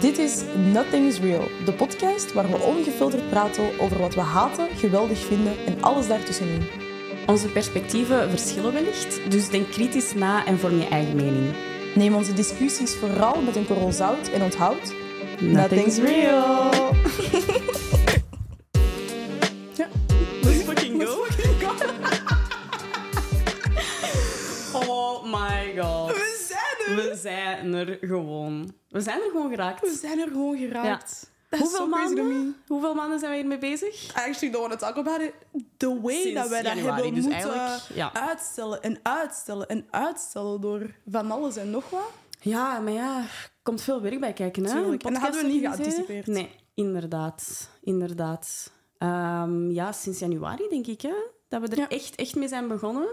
Dit is Nothing's Real, de podcast waar we ongefilterd praten over wat we haten, geweldig vinden en alles daartussenin. Onze perspectieven verschillen wellicht, dus denk kritisch na en vorm je eigen mening. Neem onze discussies vooral met een korrel zout en onthoud. Nothing's real. Let's fucking go. oh my god. We zijn We zijn er gewoon. We zijn er gewoon We geraakt. zijn er gewoon geraakt. That's Hoeveel, so crazy to me. maanden, hoeveel maanden zijn we hiermee bezig? I actually don't want to talk about it. The way Sinds dat wij dat januari, hebben dus moeten eigenlijk, ja. uitstellen en uitstellen en uitstellen door van alles en nog wat. Ja, maar ja, er komt veel werk bij kijken. Hè? Tuurlijk. En dat hadden we niet Podcasten geanticipeerd. Nee, inderdaad. Inderdaad. Ehm, ja, sinds januari denk ik hè, dat we er Ja. echt, echt mee zijn begonnen.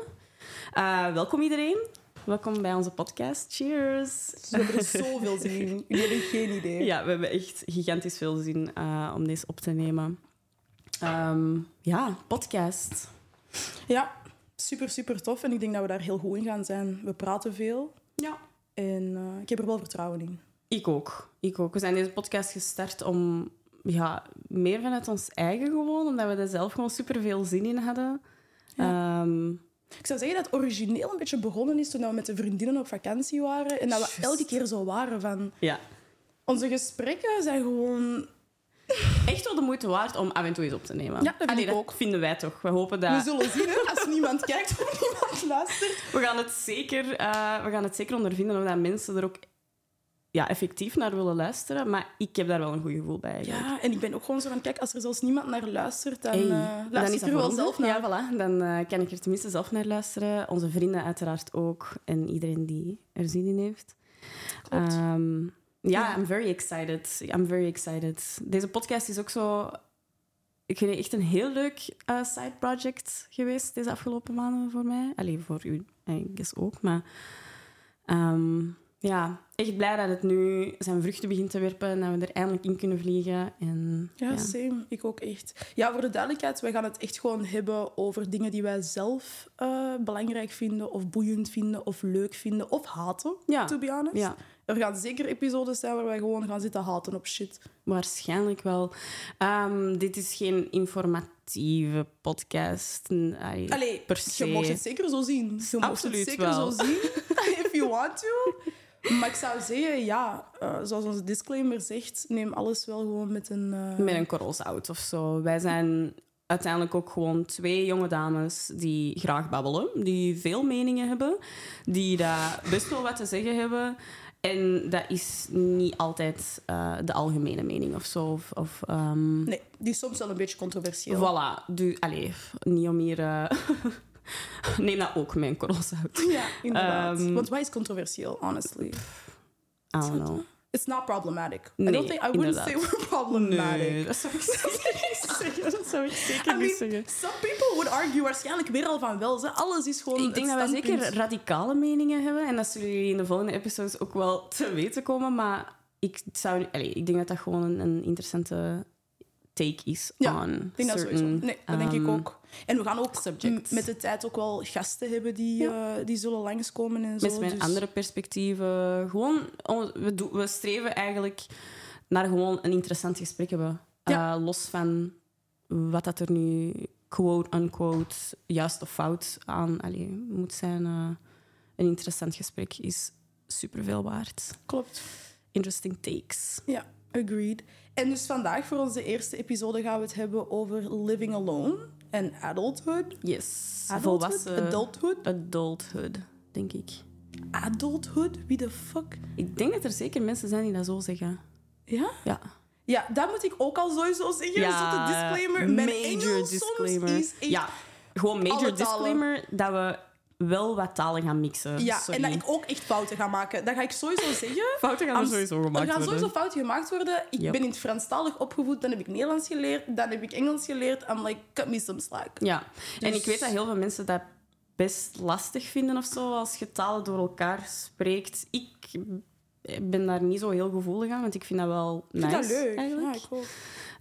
Eh, welkom iedereen. Welkom bij onze podcast. Cheers. Dus We hebben er zoveel zin in. Ik heb geen idee. Ja, we hebben echt gigantisch veel zin eh, om deze op te nemen. Ehm, ja, podcast. Ja, super, super tof. En ik denk dat we daar heel goed in gaan zijn. We praten veel Ja. en eh, ik heb er wel vertrouwen in. Ik ook. Ik ook. We zijn deze podcast gestart om ja, meer vanuit ons eigen gewoon, omdat we daar zelf gewoon super veel zin in hadden. Ehm, Ik zou zeggen dat het origineel een beetje begonnen is toen we met de vriendinnen op vakantie waren. En dat we Juist. elke keer zo waren van... ja. Onze gesprekken zijn gewoon... Echt wel de moeite waard om af en toe eens op te nemen. Ja, dat vind ik ook. vinden wij toch. We hopen We dat... We, zullen zien, hè, als niemand kijkt of niemand luistert. gaan, het zeker, eh, we gaan het zeker ondervinden of dat mensen er ook ja, effectief naar willen luisteren. Maar ik heb daar wel een goed gevoel bij. eigenlijk. Ja, en ik ben ook gewoon zo van... Kijk, als er zelfs niemand naar luistert, dan Hey, eh, dan luister is ik dat er voor wel ons, hè? zelf naar. Ja, voilà. Dan eh, kan ik er tenminste zelf naar luisteren. Onze vrienden uiteraard ook. En iedereen die er zin in heeft. Klopt. Ehm, Ja. ja, I'm very excited. I'm very excited. Deze podcast is ook zo... Ik vind het echt een heel leuk eh, side project geweest deze afgelopen maanden voor mij. Alleen voor u, eh, I guess ook. Maar ehm, ja, echt blij dat het nu zijn vruchten begint te werpen en dat we er eindelijk in kunnen vliegen. En, Ja, same. Ik ook echt. Ja, voor de duidelijkheid, wij gaan het echt gewoon hebben over dingen die wij zelf eh, belangrijk vinden, of boeiend vinden, of leuk vinden, of haten, Ja. to be honest. ja. Er gaan zeker episodes zijn waar wij gewoon gaan zitten haten op shit. Waarschijnlijk wel. Ehm, dit is geen informatieve podcast. n- allee, Allee, per se. je mag het zeker zo zien. Je mag het Absoluut zeker wel. zo zien, if you want to. Maar ik zou zeggen, ja, eh, zoals onze disclaimer zegt, neem alles wel gewoon met een... eh, Met een korrel zout of zo. Wij zijn uiteindelijk ook gewoon twee jonge dames die graag babbelen, die veel meningen hebben, die daar best wel wat te zeggen hebben. En dat is niet altijd eh, de algemene mening of zo. Of, of, ehm, Nee, die is soms wel een beetje controversieel. voilà. Du, allee, niet om hier... eh, neem dat ook met een korrel zout. Ja, inderdaad. Ehm, Want wat is controversieel, honestly? I don't know. It's not problematic. I Nee, don't think I wouldn't say inderdaad. we're problematic. dat zou ik zeggen. Dat zou ik zeker I mean, some people would argue waarschijnlijk weer al van wel. Ze. Alles is gewoon Ik denk het dat wij zeker standpunt. radicale meningen hebben. En dat zullen jullie in de volgende episodes ook wel te weten komen. Maar ik, zou, allee, ik denk dat dat gewoon een, een interessante take is Ja, on Ik denk dat certain... sowieso. Nee, dat denk ik ehm, ook. En we gaan ook subjects. m- met de tijd ook wel gasten hebben die, eh, die zullen langskomen en zo. Mensen met dus- andere perspectieven. Gewoon, on- we, doen- we streven eigenlijk naar gewoon een interessant gesprek hebben. Ja. Eh, los van wat dat er nu quote-unquote juist of fout aan allee, moet zijn. eh, een interessant gesprek is superveel waard. Klopt. Interesting takes. Ja, agreed. En dus vandaag voor onze eerste episode gaan we het hebben over living alone en adulthood. Yes. Adulthood? Volwassen... Eh. Adulthood? Adulthood, denk ik. Adulthood? Wie de fuck? Ik denk dat er zeker mensen zijn die dat zo zeggen. Ja? Ja. Ja, dat moet ik ook al sowieso zeggen. Ja, zotte disclaimer. Mijn Engels soms is echt... ja, gewoon alle major talen. disclaimer dat we wel wat talen gaan mixen. Ja, Sorry. en dat ik ook echt fouten ga maken. Dat ga ik sowieso zeggen. Fouten gaan er Als- sowieso er gemaakt gaan worden. sowieso fouten gemaakt worden. Ik Yep. ben in het Franstalig opgevoed. Dan heb ik Nederlands geleerd. Dan heb ik Engels geleerd. I'm like, cut me some slack. Ja, en Dus- ik weet dat heel veel mensen dat best lastig vinden of zo, als je talen door elkaar spreekt. Ik ben daar niet zo heel gevoelig aan, want ik vind dat wel Ik vind nice. dat leuk. Eigenlijk. Ja, ik ook.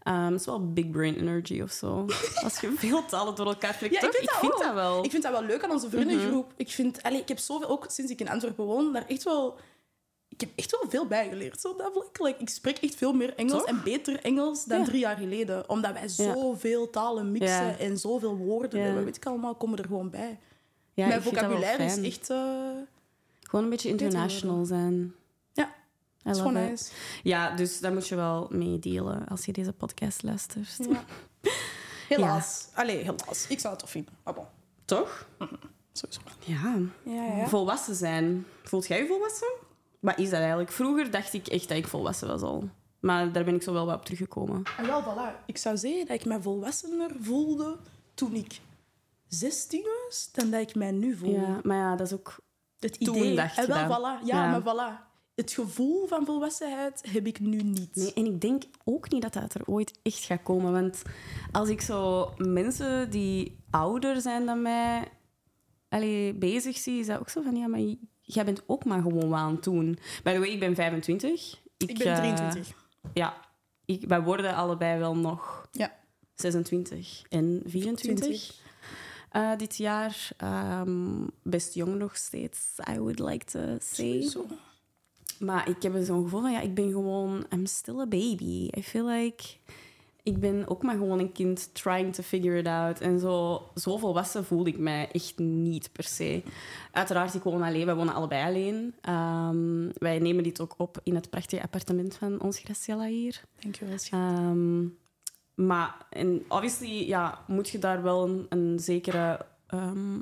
Ehm, het is wel big brain energy of zo. Als je veel talen door elkaar spreekt, Ja, ik toch? vind, dat, ook. wel. Mhm. Ik vind dat wel leuk aan onze vriendengroep. Ik, vind, allee, ik heb zoveel, ook sinds ik in Antwerpen woon, daar echt wel... ik heb echt wel veel bijgeleerd zo op dat vlak. Like, ik spreek echt veel meer Engels Toch? en beter Engels dan Ja. drie jaar geleden. Omdat wij zoveel talen mixen Ja. en zoveel woorden. Ja. En wat weet ik allemaal, komen er gewoon bij. Ja, Mijn ik vind dat wel vocabulaire is fijn. echt... eh Gewoon een beetje beter international zijn. Ja, I is love gewoon it. nice. Ja, dus daar moet je wel mee delen als je deze podcast luistert. Ja. Helaas. Allee, helaas. Ik zou het tof vinden. Maar bon, Toch? sowieso. Ja. Ja, ja. Volwassen zijn. Voelt jij je volwassen? Wat is dat eigenlijk? Vroeger dacht ik echt dat ik volwassen was al. Maar daar ben ik zo wel wat op teruggekomen. En wel, voilà. Ik zou zeggen dat ik mij volwassener voelde toen ik 16 was, dan dat ik mij nu voel. Ja, maar ja, dat is ook... Het Toen idee. dacht en je wel, dat. voilà. Ja, Ja. maar voilà. Het gevoel van volwassenheid heb ik nu niet. Nee, en ik denk ook niet dat dat er ooit echt gaat komen. Want als ik zo mensen die ouder zijn dan mij allee, bezig zie, is dat ook zo van... Ja, maar j- jij bent ook maar gewoon wat aan het doen. By the way, ik ben 25. Ik ben eh, 23. ja, ik, wij worden allebei wel nog Ja. 26 en 24 eh, dit jaar. Ehm, best jong nog steeds, I would like to say. Sowieso. Maar ik heb zo'n gevoel van, ja, ik ben gewoon... I'm still a baby. I feel like... Ik ben ook maar gewoon een kind trying to figure it out. En zo, zo volwassen voel ik mij echt niet per se. Uiteraard, ik woon alleen. Wij wonen allebei alleen. Ehm, wij nemen dit ook op in het prachtige appartement van ons Graciela hier. Dankjewel. Ehm, maar en obviously ja, moet je daar wel een, een zekere ehm,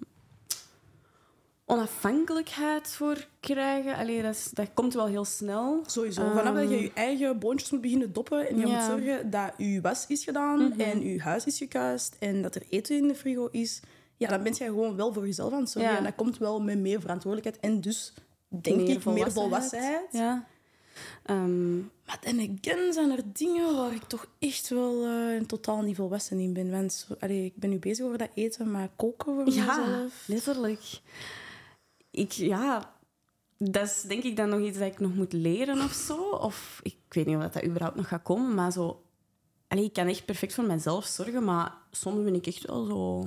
onafhankelijkheid voor krijgen. Allee, dat, is- dat komt wel heel snel. Sowieso. Vanaf dat je Ehm. je eigen boontjes moet beginnen doppen en je Ja. Mhm. moet zorgen dat je was is gedaan en je huis is gekuist en dat er eten in de frigo is, ja, dan ben jij gewoon wel voor jezelf aan het zorgen. Ja. En dat komt wel met meer verantwoordelijkheid en dus, denk ik, meer volwassenheid. Ja. Ehm, Maar dan again zijn er dingen waar ik toch echt wel eh, totaal niet volwassen in ben. Want zo- allee, ik ben nu bezig over dat eten, maar koken voor ja, mezelf... letterlijk. Ik, ja, dat is denk ik dan nog iets dat ik nog moet leren of zo. Of ik weet niet of dat überhaupt nog gaat komen, maar zo... Allee, ik kan echt perfect voor mezelf zorgen, maar soms ben ik echt wel zo...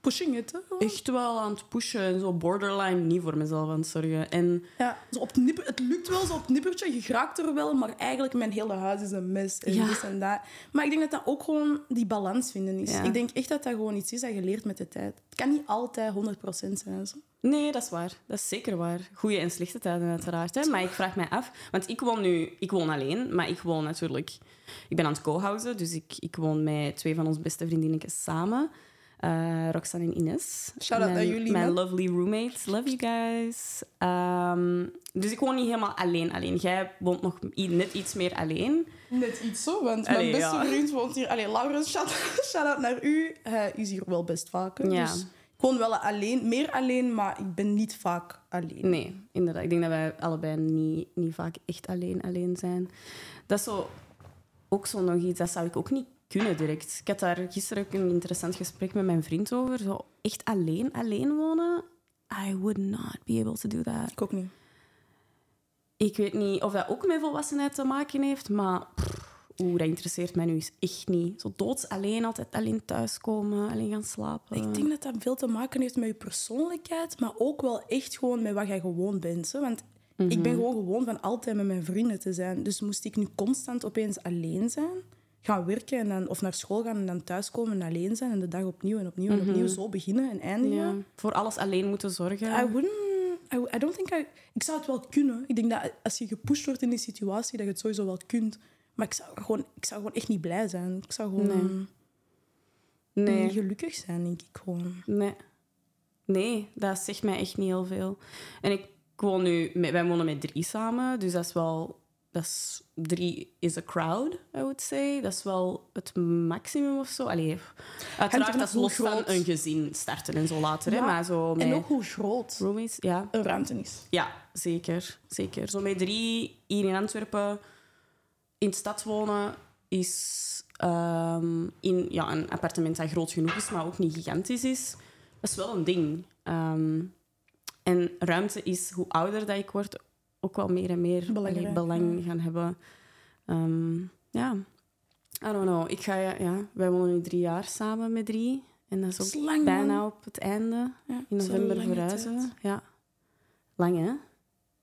Pushing it, hè? gewoon. echt wel aan het pushen en zo borderline niet voor mezelf aan het zorgen. En Ja, zo op het nipper, het lukt wel zo op het nippertje, je raakt er wel, maar eigenlijk mijn hele huis is een mes en Ja. dit en dat. Maar ik denk dat dat ook gewoon die balans vinden is. Ja. Ik denk echt dat dat gewoon iets is dat je leert met de tijd. Het kan niet altijd 100% zijn. Zo. nee, dat is waar. Dat is zeker waar. Goede en slechte tijden uiteraard. Hè. Maar ik vraag mij af, want ik woon nu, ik woon alleen, maar ik woon natuurlijk, ik ben aan het co-housen, dus ik, ik woon met twee van onze beste vriendinnetjes samen. Eh, Roxanne en Ines. Shout-out Mijn- aan jullie, Mijn man. lovely roommates. Love you guys. Ehm, dus ik woon niet helemaal alleen alleen. Jij woont nog i- net iets meer alleen. Net iets zo, want Allee, mijn beste ja. vriend woont hier. Allee, Laurens, shout- shout-out naar u. Hij is hier wel best vaak. hè. Ja. Dus gewoon wel alleen, meer alleen, maar ik ben niet vaak alleen. Nee, inderdaad. Ik denk dat wij allebei niet, niet vaak echt alleen alleen zijn. Dat is zo, ook zo nog iets, dat zou ik ook niet kunnen direct. Ik had daar gisteren ook een interessant gesprek met mijn vriend over. Zo echt alleen alleen wonen, I would not be able to do that. Ik ook niet. Ik weet niet of dat ook met volwassenheid te maken heeft, maar... pff, Oeh, dat interesseert mij nu eens echt niet. Zo doods alleen, altijd alleen thuiskomen, alleen gaan slapen. Ik denk dat dat veel te maken heeft met je persoonlijkheid, maar ook wel echt gewoon met wat jij gewoon bent. Hè? Want ik Mhm. ben gewoon gewoon van altijd met mijn vrienden te zijn. Dus moest ik nu constant opeens alleen zijn, gaan werken en dan, of naar school gaan en dan thuiskomen en alleen zijn en de dag opnieuw en opnieuw Mhm. en opnieuw zo beginnen en eindigen. Ja, Voor alles alleen moeten zorgen. I wouldn't... I, I don't think I... Ik zou het wel kunnen. Ik denk dat als je gepusht wordt in die situatie, dat je het sowieso wel kunt. Maar ik zou gewoon, ik zou gewoon echt niet blij zijn. Ik zou gewoon nee. niet gelukkig zijn, denk ik gewoon. Nee. Nee, dat zegt mij echt niet heel veel. En ik woon nu... Met, wij wonen met drie samen, dus dat is wel... Dat is, drie is a crowd, I would say. Dat is wel het maximum of zo. Allee, vanaf uiteraard, dat is hoe los van groot- een gezin starten en zo later. Ja, Hè, maar zo met En ook hoe groot roommates, ja. een ruimte is. Ja, zeker. zeker. Zo met drie hier in Antwerpen in de stad wonen is ehm, in ja, een appartement dat groot genoeg is, maar ook niet gigantisch is. Dat is wel een ding. Ehm, en ruimte is, hoe ouder dat ik word, ook wel meer en meer Belangrijk, allee, belang gaan hebben. Ehm, ja, I don't know. Ik ga, ja, wij wonen nu drie jaar samen met drie. En dat is ook Dat is lang, bijna man. op het einde. Ja, In zo'n november lange verhuizen we. tijd. Ja. Lang, hè?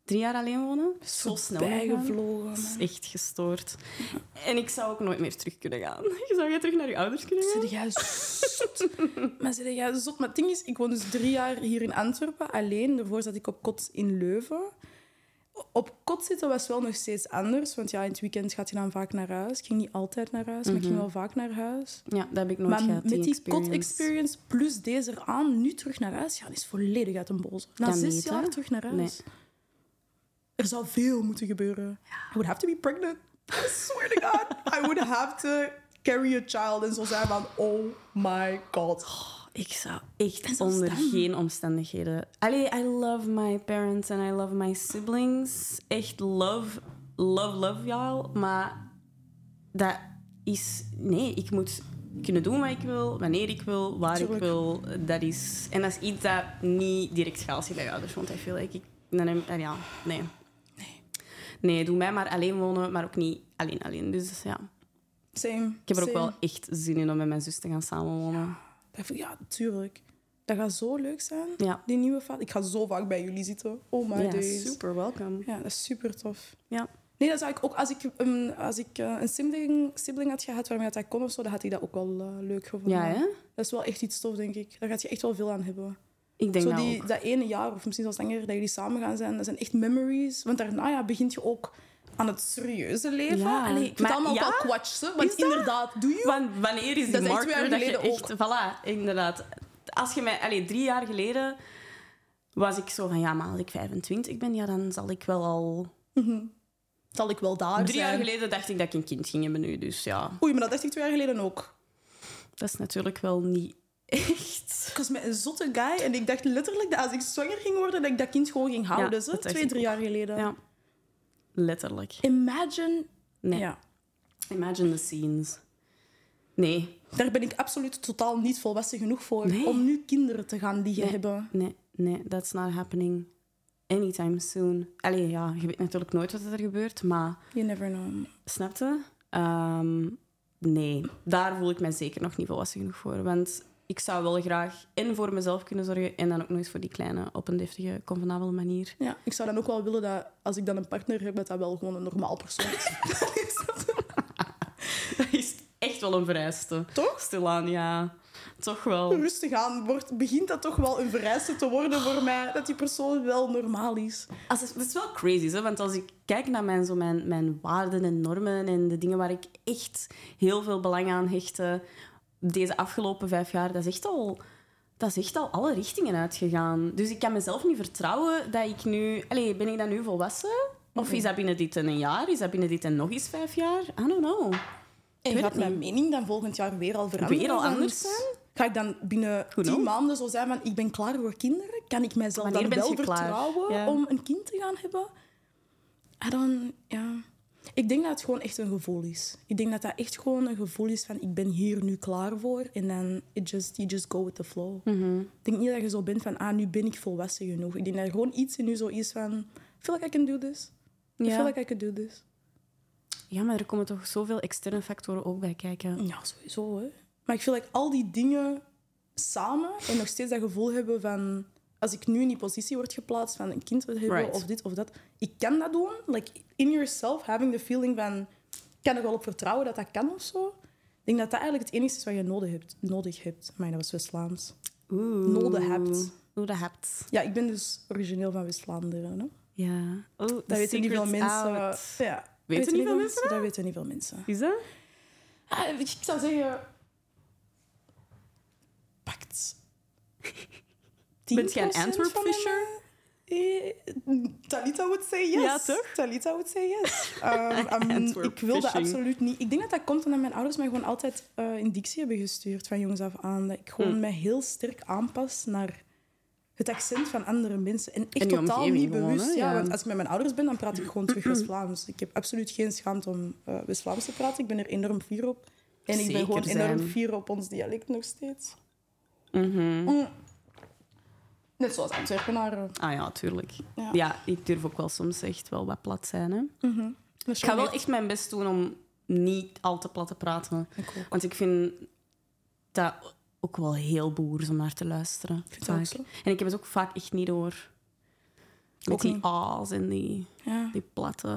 drie jaar alleen wonen. Zo snel. gegaan. Bijgevlogen. Dat is echt gestoord. En ik zou ook nooit meer terug kunnen gaan. Zou jij terug naar je ouders kunnen gaan? Zit jij zot? maar zit jij zot? Maar het ding is, ik woon dus drie jaar hier in Antwerpen alleen. Daarvoor zat ik op kot in Leuven. Op kot zitten was wel nog steeds anders. Want ja, in het weekend gaat je dan vaak naar huis. Ik ging niet altijd naar huis, maar ik Mhm. ging wel vaak naar huis. Ja, dat heb ik nooit Maar gehad. met die experience. kot-experience plus deze eraan, nu terug naar huis gaan, is volledig uit een boze. Na Kan zes niet, hè? jaar terug naar huis. Nee. Er zou veel moeten gebeuren. I would have to be pregnant. I swear to God. I would have to carry a child. En zo zijn van, oh my God. Ik zou echt zelfs onder dan. geen omstandigheden. Allee, I love my parents and I love my siblings. Echt love, love, love y'all. Maar dat is. Nee, ik moet kunnen doen wat ik wil, wanneer ik wil, waar Tuurlijk. ik wil. Dat is. En dat is iets dat niet direct gaat als je bij je ouders woont. I feel like ik. Dan heb, en ja, nee. Nee, doe mij maar alleen wonen, maar ook niet alleen alleen. Dus ja, Same. ik heb er ook wel echt zin in om met mijn zus te gaan samenwonen. Ja, tuurlijk. Dat gaat zo leuk zijn. Ja. Die nieuwe fase. Ik ga zo vaak bij jullie zitten. Oh my Ja, days. super welkom. Ja, dat is super tof. Ja. Nee, dat zou ik ook... Als ik, ehm, als ik eh, een sibling, sibling had gehad waarmee dat hij kon of zo, dan had ik dat ook wel eh, leuk gevonden. Ja, hè? Dat is wel echt iets tof, denk ik. Daar gaat je echt wel veel aan hebben. Ik denk Zo dat die, ook. dat ene jaar, of misschien zelfs langer, dat jullie samen gaan zijn, dat zijn echt memories. Want daarna ja, begint je ook aan het serieuze leven. Ja. Allee, ik vind Maar het allemaal ja? ook wel kwatsch, hè, want Is dat? inderdaad, doe je... Wan- wanneer is die Dat is echt twee jaar marker dat je geleden echt... Voilà, inderdaad. Als je mij... Allee, drie jaar geleden was ik zo van... Ja, maar als ik 25 ben, ja, dan zal ik wel al... Mhm. Zal ik wel daar Drie zijn? jaar geleden dacht ik dat ik een kind ging hebben nu, dus ja. Oei, maar dat dacht ik twee jaar geleden ook. Dat is natuurlijk wel niet echt... Ik was met een zotte guy en ik dacht letterlijk dat als ik zwanger ging worden, dat ik dat kind gewoon ging houden. dat zo. dacht Twee, ik drie jaar geleden. Ja. Letterlijk. Imagine... Nee. Ja. Imagine the scenes. Nee. Daar ben ik absoluut totaal niet volwassen genoeg voor Nee. om nu kinderen te gaan die je Nee. hebben. Nee, nee. That's not happening anytime soon. Allee, ja, je weet natuurlijk nooit wat er gebeurt, maar... You never know. Snapte? Ehm, nee, daar voel ik mij zeker nog niet volwassen genoeg voor. Want ik zou wel graag en voor mezelf kunnen zorgen en dan ook nog eens voor die kleine op een deftige, convenabele manier. Ja, ik zou dan ook wel willen dat als ik dan een partner heb, dat dat wel gewoon een normaal persoon is. Dat is echt wel een vereiste. Toch? Stilaan, ja. Toch wel. Rustig aan wordt, begint dat toch wel een vereiste te worden voor mij, dat die persoon wel normaal is. Als het, het is wel crazy, hè? want als ik kijk naar mijn, zo mijn, mijn waarden en normen en de dingen waar ik echt heel veel belang aan hechtte deze afgelopen vijf jaar, dat is echt al, dat is echt al alle richtingen uitgegaan. Dus ik kan mezelf niet vertrouwen dat ik nu... Allee, ben ik dan nu volwassen? Of is dat binnen dit en een jaar? Is dat binnen dit en nog eens vijf jaar? I don't know. En weet gaat het niet. mijn mening dan volgend jaar weer al veranderen? Weer al Dan anders zijn? Ga ik dan binnen Who tien knows? maanden zo zijn van, ik ben klaar voor kinderen? Kan ik mijzelf dan Wanneer bent wel je klaar? vertrouwen Ja. om een kind te gaan hebben? En dan, ja... Ik denk dat het gewoon echt een gevoel is. Ik denk dat dat echt gewoon een gevoel is van, ik ben hier nu klaar voor. En dan, it just, you just go with the flow. Mhm. Ik denk niet dat je zo bent van, ah, nu ben ik volwassen genoeg. Ik denk dat er gewoon iets in je zo is van, I feel like I can do this. I feel like I can do this. ja, maar er komen toch zoveel externe factoren ook bij kijken. Ja, sowieso. Hè. Maar ik vind like, al die dingen samen en nog steeds dat gevoel hebben van... Als ik nu in die positie word geplaatst van een kind wil hebben Right. of dit of dat... Ik kan dat doen. Like, in yourself having the feeling van... Ik kan er wel op vertrouwen dat dat kan of zo. Ik denk dat dat eigenlijk het enige is wat je nodig hebt. Nodig hebt. Maar dat was West-Vlaams. Oeh. Nodig hebt. Nodig hebt. Ja, ik ben dus origineel van West-Vlaanderen. hè. Ja. Oh, Dat weten niet veel mensen. Ja. niet veel mensen Dat weten niet veel mensen. Is dat? Ah, ik zou zeggen... Pakt. 10% Bent jij een Antwerp van mijn- Fisher? Eh, Talita would say yes. Ja, toch? Talita would say yes. Um, um, Antwerp ik wilde fishing. absoluut niet. Ik denk dat dat komt omdat mijn ouders mij gewoon altijd eh, in dictie hebben gestuurd van jongens af aan. Dat ik gewoon Hmm. mij heel sterk aanpas naar het accent van andere mensen. En echt En je totaal omgeving niet gewoon, bewust. hè? ja. Ja. want als ik met mijn ouders ben, dan praat ik gewoon terug West-Vlaams. Ik heb absoluut geen schaamte om eh, West-Vlaams te praten. Ik ben er enorm fier op. En ik ben Zeker gewoon enorm zijn. Mhm. fier op ons dialect nog steeds. Mm. Net zoals Antwerpenaren. Ah ja, tuurlijk. Ja. Ja. ik durf ook wel soms echt wel wat plat zijn. Hè? Dat is Ik ga wel meer- echt mijn best doen om niet al te plat te praten. Ik ook. Want ik vind dat ook wel heel boers om naar te luisteren. vind dat ook vaak. En ik heb het ook vaak echt niet door. Met Ook die een- a's en die, Ja. die platte...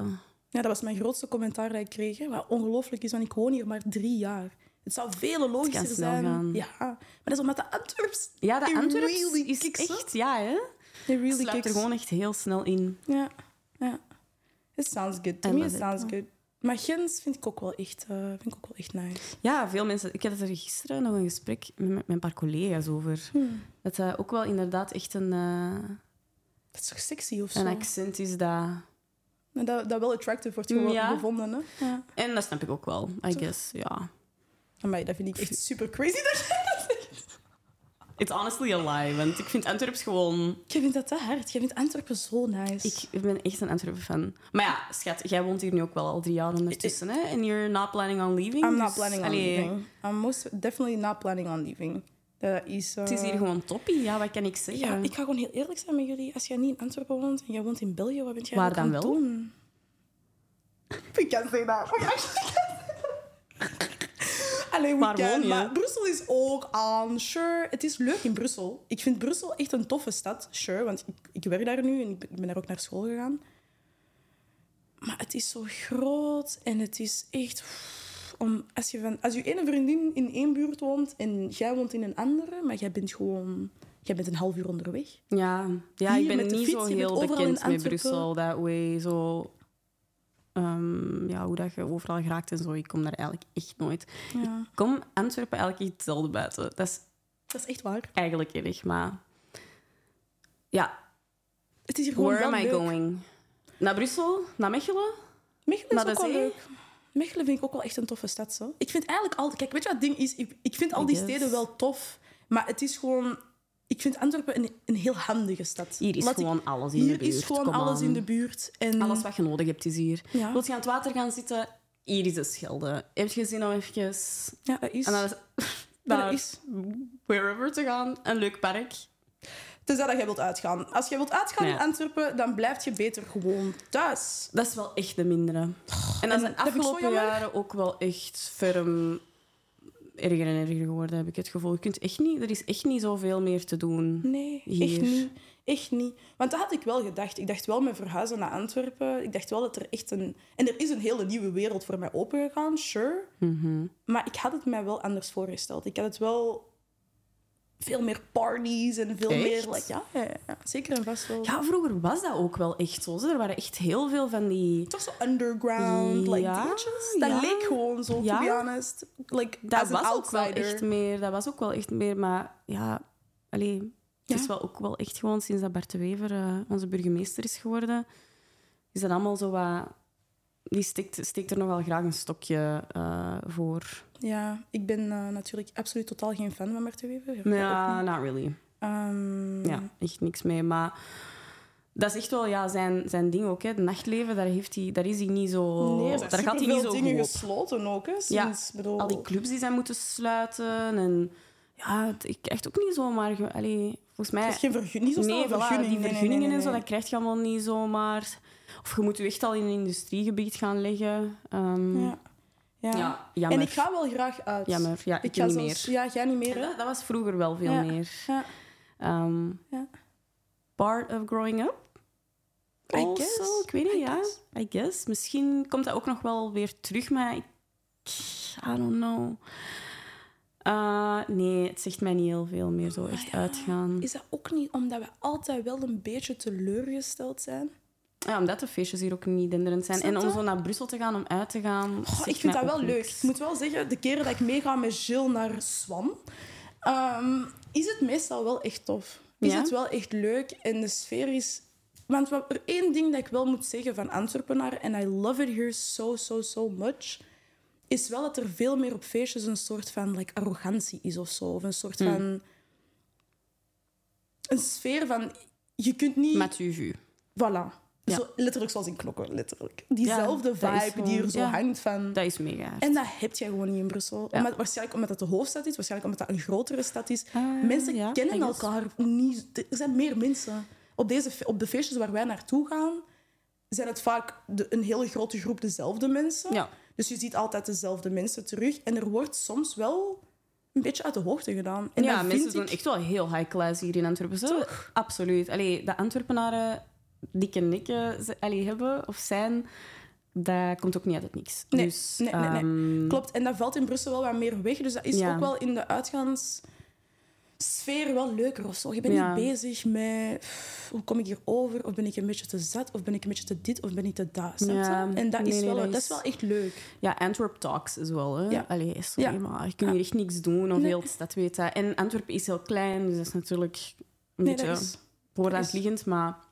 ja, dat was mijn grootste commentaar dat ik kreeg. hè. Wat ongelooflijk is, want ik woon hier maar drie jaar. Het zou veel logischer snel zijn. gaan. Ja, maar dat is omdat de Antwerps... Ja, de It Antwerps really is kicks up. echt... Ja, hè? They really Het sluipt er kicks. gewoon echt heel snel in. Ja, ja. It sounds good. I To me, love it it. sounds good. Maar Gens vind ik ook wel echt, eh, vind ik ook wel echt nice. Ja, veel mensen... Ik had er gisteren nog een gesprek met, met een paar collega's over. Hmm. Dat dat ook wel inderdaad echt een, eh, Dat is toch sexy of zo? een accent is dat... En dat, dat wel attractive wordt gewo- Ja. gevonden, hè? Ja. En dat snap ik ook wel, I Toch? guess. Ja. Amai, dat vind ik echt super crazy. Dat jij dat zegt. It's honestly a lie, want ik vind Antwerps gewoon... Jij vindt dat te hard. Jij vindt Antwerpen zo nice. Ik ben echt een Antwerpen-fan. Maar ja, schat, jij woont hier nu ook wel al drie jaar ondertussen, hè? And you're not planning on leaving? I'm dus, not planning on allee, leaving. I'm most definitely not planning on leaving. Dat is... eh, Het is hier gewoon toppie, ja, wat kan ik zeggen? Ja, ik ga gewoon heel eerlijk zijn met jullie. Als jij niet in Antwerpen woont en jij woont in België, wat bent jij Waar dan aan dan het wel? doen? We can say that. We actually can say that. Alleen we Waar can, woon je? maar Brussel is ook aan. Sure, het is leuk in Brussel. Ik vind Brussel echt een toffe stad. Sure, want ik, ik werk daar nu en ik ben, ik ben daar ook naar school gegaan. Maar het is zo groot en het is echt... Om, als, je van, als je ene vriendin in één buurt woont en jij woont in een andere, maar jij bent gewoon... Jij bent een half uur onderweg. Ja, ja Hier ik ben met de niet fiets, zo je bent heel overal in bekend met Antwerpen. Brussel, dat way, zo... ehm, ja, hoe dat je overal geraakt en zo. Ik kom daar eigenlijk echt nooit. Ja, Ik kom Antwerpen eigenlijk iets hetzelfde buiten. Dat is dat is echt waar. eigenlijk erg, maar... Ja, Het is hier gewoon where wel am I leuk. going? Naar Brussel? Naar Mechelen? Mechelen is Naar ook de wel zee? leuk. Mechelen vind ik ook wel echt een toffe stad. Zo. Ik vind eigenlijk al... Kijk, weet je wat het ding is? Ik, ik vind al die I guess. steden wel tof, maar het is gewoon... Ik vind Antwerpen een, een heel handige stad. Hier is Laat ik- gewoon alles in de hier buurt. is gewoon Kom alles aan. Hm. in de buurt. En Alles wat je nodig hebt is hier. Ja. Wilt je aan het water gaan zitten? Hier is de schelde. Heb je zin om even ja, dat is. en dan, dat naar is. wherever te gaan? Een leuk park? Tenzij dat jij wilt uitgaan. Als jij wilt uitgaan Ja. in Antwerpen, dan blijf je beter gewoon thuis. Dat is wel echt de mindere. Oh, en dat is en de dat vind ik zo afgelopen jammer. jaren ook wel echt ferm erger en erger geworden, heb ik het gevoel. Je kunt echt niet, er is echt niet zoveel meer te doen. Nee, Hier. echt niet. Echt niet. Want dat had ik wel gedacht. Ik dacht wel met verhuizen naar Antwerpen. Ik dacht wel dat er echt een... En er is een hele nieuwe wereld voor mij opengegaan, sure. Mhm. Maar ik had het mij wel anders voorgesteld. Ik had het wel... Veel meer parties en veel Echt? meer... like, ja, ja, ja, zeker en vast wel. Ja, vroeger was dat ook wel echt zo. ze. Er waren echt heel veel van die... Toch zo underground, like Ja, dingetjes. Dat ja. leek gewoon zo, Ja. to be honest. Like, Dat as an was ook wel outsider. echt meer. Dat was ook wel echt meer, maar ja... Allee, het Ja. is wel ook wel echt gewoon sinds dat Bart de Wever eh, onze burgemeester is geworden, is dat allemaal zo wat... Die steekt, steekt er nog wel graag een stokje eh, voor. Ja, ik ben eh, natuurlijk absoluut totaal geen fan van Marten Wever. Ja, ook Ja, niet. not really. Ehm, Ja, echt niks mee. Maar dat is echt wel ja, zijn, zijn ding ook. Hè. Het nachtleven, daar, heeft hij, daar is hij niet zo... Nee, er zijn daar gaat hij niet superveel zo goed dingen op. gesloten ook. Hè, Ja, sinds, bedoel, al die clubs die zijn moeten sluiten. En ja, het- ik echt ook niet zomaar. ge- Allee, volgens mij. het is geen vergunning, niet zo snel nee, een vergunning. voilà, die Nee, nee, vergunningen nee, en zo, nee. dat krijg je allemaal niet zomaar. Of je moet je echt al in een industriegebied gaan leggen. Ehm, ja. Ja. Ja. jammer. En ik ga wel graag uit. Jammer, ja, ik, Ik ga niet zelfs- meer. Ja, jij niet meer. En Hè? dat, dat was vroeger wel veel Ja. meer. Ja. Ehm, Ja. Part of growing up. I Also, guess. Ik weet niet, I ja. guess. I guess. Misschien komt dat ook nog wel weer terug, maar ik... I don't know. Eh, nee, het zegt mij niet heel veel meer zo echt uitgaan. Ah, Is dat ook niet omdat we altijd wel een beetje teleurgesteld zijn? Ja, omdat de feestjes hier ook niet denderend zijn. Snap En om je? zo naar Brussel te gaan om uit te gaan. Goh, ik vind dat wel leuk. Ik moet wel zeggen, de keren dat ik meega met Jill naar Swan, ehm, is het meestal wel echt tof. Is Ja? het wel echt leuk en de sfeer is... Want wat, er één ding dat ik wel moet zeggen van Antwerpenaar, en I love it here so, so, so much, is wel dat er veel meer op feestjes een soort van like, arrogantie is of zo. Of een soort Mm. van... Een sfeer van... Je kunt niet... Met uw vuur. Voilà. Ja. Zo, letterlijk zoals in klokken, letterlijk. Diezelfde dat is vibe die gewoon- er zo ja. hangt van... Dat is mega. hard. En dat heb jij gewoon niet in Brussel. Ja. Omdat, waarschijnlijk omdat het de hoofdstad is, waarschijnlijk omdat dat een grotere stad is. Ah, mensen ja, I kennen guess. elkaar niet. Er zijn meer mensen. Op, deze, fe- op de feestjes waar wij naartoe gaan, zijn het vaak de, een hele grote groep dezelfde mensen. Ja. Dus je ziet altijd dezelfde mensen terug. En er wordt soms wel een beetje uit de hoogte gedaan. En ja, dat mensen vind doen ik- echt wel heel high class hier in Antwerpen. Zo, Absoluut. Allee, de Antwerpenaren Dick en ik eh, ze- allee, hebben of zijn, dat komt ook niet uit het niks. Nee, dus, nee, nee, nee. ehm, Klopt, en dat valt in Brussel wel wat meer weg. Dus dat is Ja. ook wel in de uitgaanssfeer wel leuker of zo. Je bent Ja. niet bezig met pff, hoe kom ik hier over? Of ben ik een beetje te zat? Of ben ik een beetje te dit? Of ben ik te dat? Snap je? Ja. En dat is, Nee, nee, wel, dat dat is- is wel echt leuk. Ja, Antwerp Talks is wel. Hè? Ja. Allee, sorry, Ja. maar je kunt Ja. hier echt niks doen. Of Nee. heel de stad weet dat. En Antwerpen is heel klein, dus dat is natuurlijk een Nee, dat beetje is... voor de hand is- liggend. Maar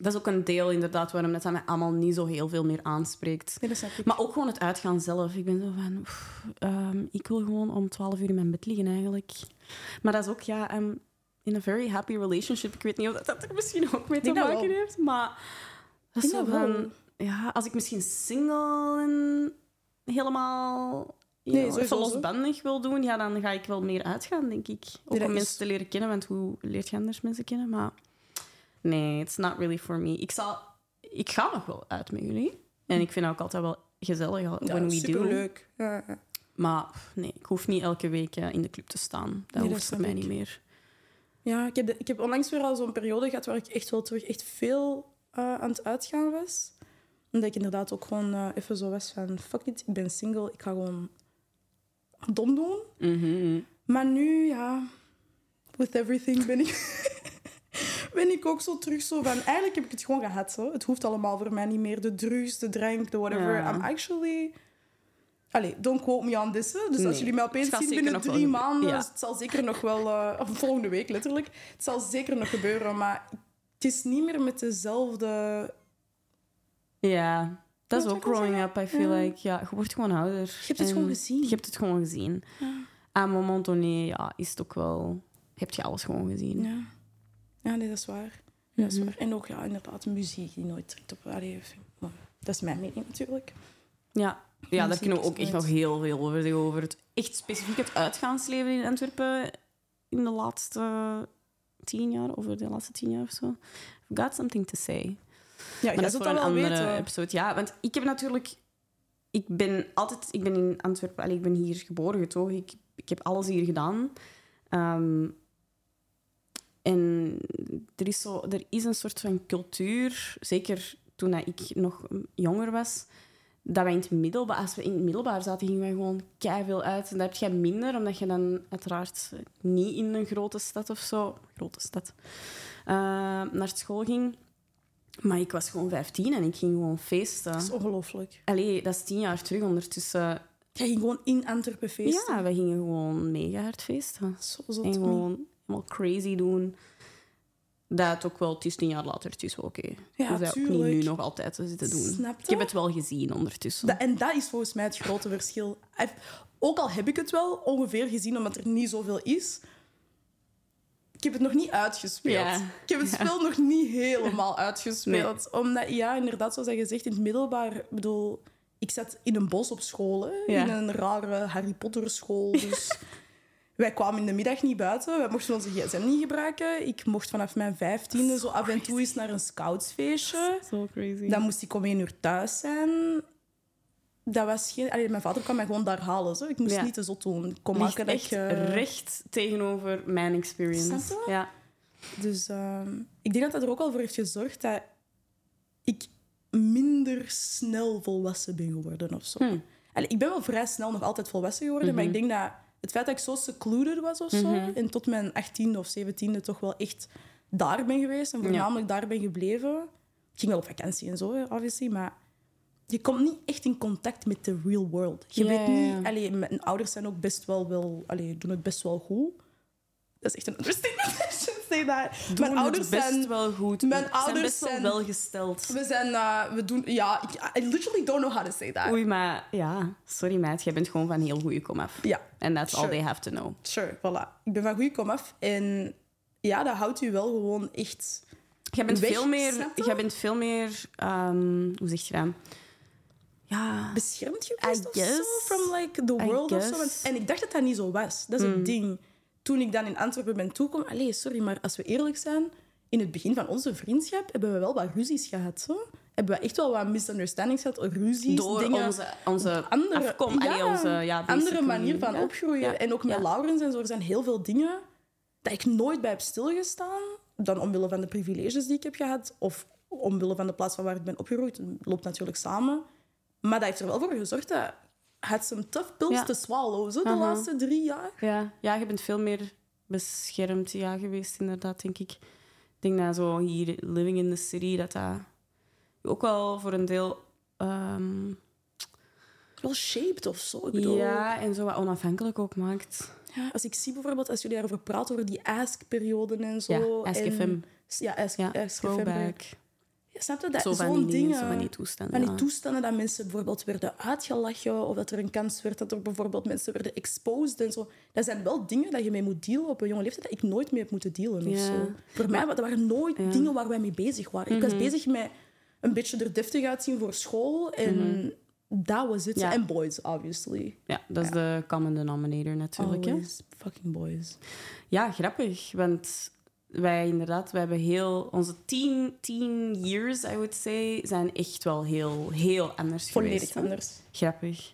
dat is ook een deel inderdaad waarom dat dat mij allemaal niet zo heel veel meer aanspreekt. Nee, dat snap ik. Maar ook gewoon het uitgaan zelf. Ik ben zo van, oef, ehm, ik wil gewoon om 12 uur in mijn bed liggen eigenlijk. Maar dat is ook, ja, I'm in a very happy relationship. Ik weet niet of dat, dat er misschien ook mee te Ik denk dat maken wel. heeft, maar dat is Ik zo denk dat wel. van, ja, als ik misschien single en helemaal Nee, nee, sowieso even zo. losbandig wil doen, ja, dan ga ik wel meer uitgaan, denk ik. Ook dat om is- mensen te leren kennen, want hoe leert je anders mensen kennen? Maar nee, it's not really for me. Ik, zal, ik ga nog wel uit met jullie. En ik vind het ook altijd wel gezellig al- when we do. leuk. Ja, ja. Maar pff, nee, ik hoef niet elke week eh, in de club te staan. dat Dat hoeft voor snap mij ik. niet meer. Ja, ik heb, de- ik heb onlangs weer al zo'n periode gehad waar ik echt wel terug echt veel eh, aan het uitgaan was. Omdat ik inderdaad ook gewoon eh, even zo was van... Fuck it, ik ben single. Ik ga gewoon dom doen. Mhm. Maar nu, ja... With everything ben ik... ben ik ook zo terug zo van... Eigenlijk heb ik het gewoon gehad, zo. Het hoeft allemaal voor mij niet meer. De drugs, de drank, de whatever. Ja. I'm actually... Allee, don't quote me on this. hè. Dus Nee, als jullie mij opeens het gaat zien zeker binnen nog wel drie gebeuren. maanden... Ja. dus Het zal zeker nog wel... eh, of volgende week, letterlijk. Het zal zeker nog gebeuren, maar... Het is niet meer met dezelfde... Ja, dat is Wat ook zou ik growing up, I feel like. Ja, je wordt gewoon ouder. Je hebt het gewoon gezien. Je hebt het gewoon gezien. Aan een moment donné, ja, is het ook wel... Heb je alles gewoon gezien. Ja, ja nee, dat is waar. Ja, dat is Mhm. waar. En ook, ja, inderdaad, muziek die nooit trekt op... Allee, maar dat is mijn mening natuurlijk. Ja, ja daar Muziek kunnen we is ook echt nooit- nog heel veel over zeggen. Over het echt specifiek het uitgaansleven in Antwerpen in de laatste tien jaar, over de laatste tien jaar of zo. I've got something to say. Ja, Maar jij dat is zult voor een wel andere weten. episode. Ja, want ik heb natuurlijk... Ik ben altijd... Ik ben in Antwerpen... allee, ik ben hier geboren, getogen. Ik, ik heb alles hier gedaan. Ehm, en er is, zo, er is een soort van cultuur, zeker toen dat ik nog jonger was, dat wij in het middelbaar, als we in het middelbaar zaten, gingen wij gewoon veel uit. En dat heb je minder, omdat je dan uiteraard niet in een grote stad of zo, grote stad, eh, naar school ging. Maar ik was gewoon 15 en ik ging gewoon feesten. Dat is ongelooflijk. Allee, dat is tien jaar terug ondertussen. Jij ging gewoon in Antwerpen feesten. Ja, we gingen gewoon mega hard feesten. Zo zot. En Nee. gewoon helemaal crazy doen. Dat het ook wel, het is tien jaar later, het is wel oké. Ja, Dus dat ook niet tuurlijk. nu nog altijd te zitten doen. Snap Ik heb je? het wel gezien ondertussen. Dat- en dat is volgens mij het grote verschil. Ef- Ook al heb ik het wel ongeveer gezien, omdat er niet zoveel is. Ik heb het nog niet uitgespeeld. Ja. Ik heb het spel nog niet helemaal uitgespeeld. Omdat, ja, inderdaad, zoals je zegt, in het middelbaar... Ik bedoel, ik zat in een bos op school. hè, Ja. In een rare Harry Potter school. Dus wij kwamen in de middag niet buiten. Wij mochten onze gsm niet gebruiken. Ik mocht vanaf mijn vijftiende zo af en toe eens naar een scoutsfeestje. zo crazy. Dan moest ik om één uur thuis zijn. Dat was geen... Allee, mijn vader kwam mij gewoon daar halen. Zo. Ik moest Ja. niet te zot doen. Kom ligt maken dat echt ik... eh, recht tegenover mijn experience. Snap Ja. Dus ehm, ik denk dat dat er ook al voor heeft gezorgd dat ik minder snel volwassen ben geworden of zo. Hm. Allee, ik ben wel vrij snel nog altijd volwassen geworden, Mhm. maar ik denk dat het feit dat ik zo secluded was of zo, en tot mijn 18e of 17e toch wel echt daar ben geweest en voornamelijk daar ben gebleven. Ik ging wel op vakantie en zo, hè, obviously, maar je komt niet echt in contact met de real world. Je Ja, weet ja, niet... ja. Allee, mijn ouders zijn ook best wel wel... Allee, doen het best wel goed. Dat is echt een understatement. I should say that. Doen mijn het ouders best zijn... wel goed. mijn zijn ouders best wel zijn- welgesteld. We zijn... eh, we doen... Ja, ik, I literally don't know how to say that. Oei, maar ja, sorry meid, jij bent gewoon van heel goede komaf. Ja, En that's all Sure. they have to know. sure, voilà. Ik ben van goede komaf. En ja, dat houdt u wel gewoon echt... Jij bent Weg, veel meer, snap je? jij bent veel meer ehm, hoe zeg je dat? Ja, beschermd geweest I of guess. zo from like the I world of zo. Want- guess. Mm. En ik dacht dat dat niet zo was. Dat is het ding. Toen ik dan in Antwerpen ben toegekomen... Allee, sorry, maar als we eerlijk zijn... In het begin van onze vriendschap hebben we wel wat ruzies gehad. Zo. Hebben we echt wel wat misunderstandings gehad, ruzies, door dingen... onze, onze andere, afkom, allee, onze ja, andere basically, manier van ja. opgroeien. Ja, En ook met ja. Laurens en zo, er zijn heel veel dingen dat ik nooit bij heb stilgestaan. Dan omwille van de privileges die ik heb gehad. Of omwille van de plaats van waar ik ben opgegroeid, loopt natuurlijk samen. Maar dat heeft er wel voor gezorgd dat het some tough pills Ja. te swallow, zo de Aha. laatste drie jaar. Ja. eh, ja, je bent veel meer beschermd ja, geweest, inderdaad, denk ik. Ik denk dat zo hier, living in the city, dat dat ook wel voor een deel... ehm, Wel shaped of zo. Ik bedoel, ja, en zo wat onafhankelijk ook maakt. ja, als ik zie bijvoorbeeld, als jullie daarover praten, over die ask-perioden en zo. Ja, Ask en- FM. Ja, ask, Ja, ask FM. throwback. Ja, snap je? Dat Zo van die zo'n dingen, dingen. zo van die toestanden. Van die ja. toestanden dat mensen bijvoorbeeld werden uitgelachen of dat er een kans werd dat er bijvoorbeeld mensen werden exposed en zo. Dat zijn wel dingen dat je mee moet dealen op een jonge leeftijd dat ik nooit mee heb moeten dealen of Ja. zo. Voor mij wa- dat waren nooit dingen waar wij mee bezig waren. Ik Mhm. was bezig met een beetje er deftig uitzien voor school en dat was het. Mhm. Ja. En boys, obviously. Ja, dat is de common denominator natuurlijk. Hè? Always fucking boys. Ja, grappig. Want wij inderdaad, wij hebben heel... Onze tien, tien years, I would say, zijn echt wel heel, heel anders Volledig geweest. hè? anders. Grappig.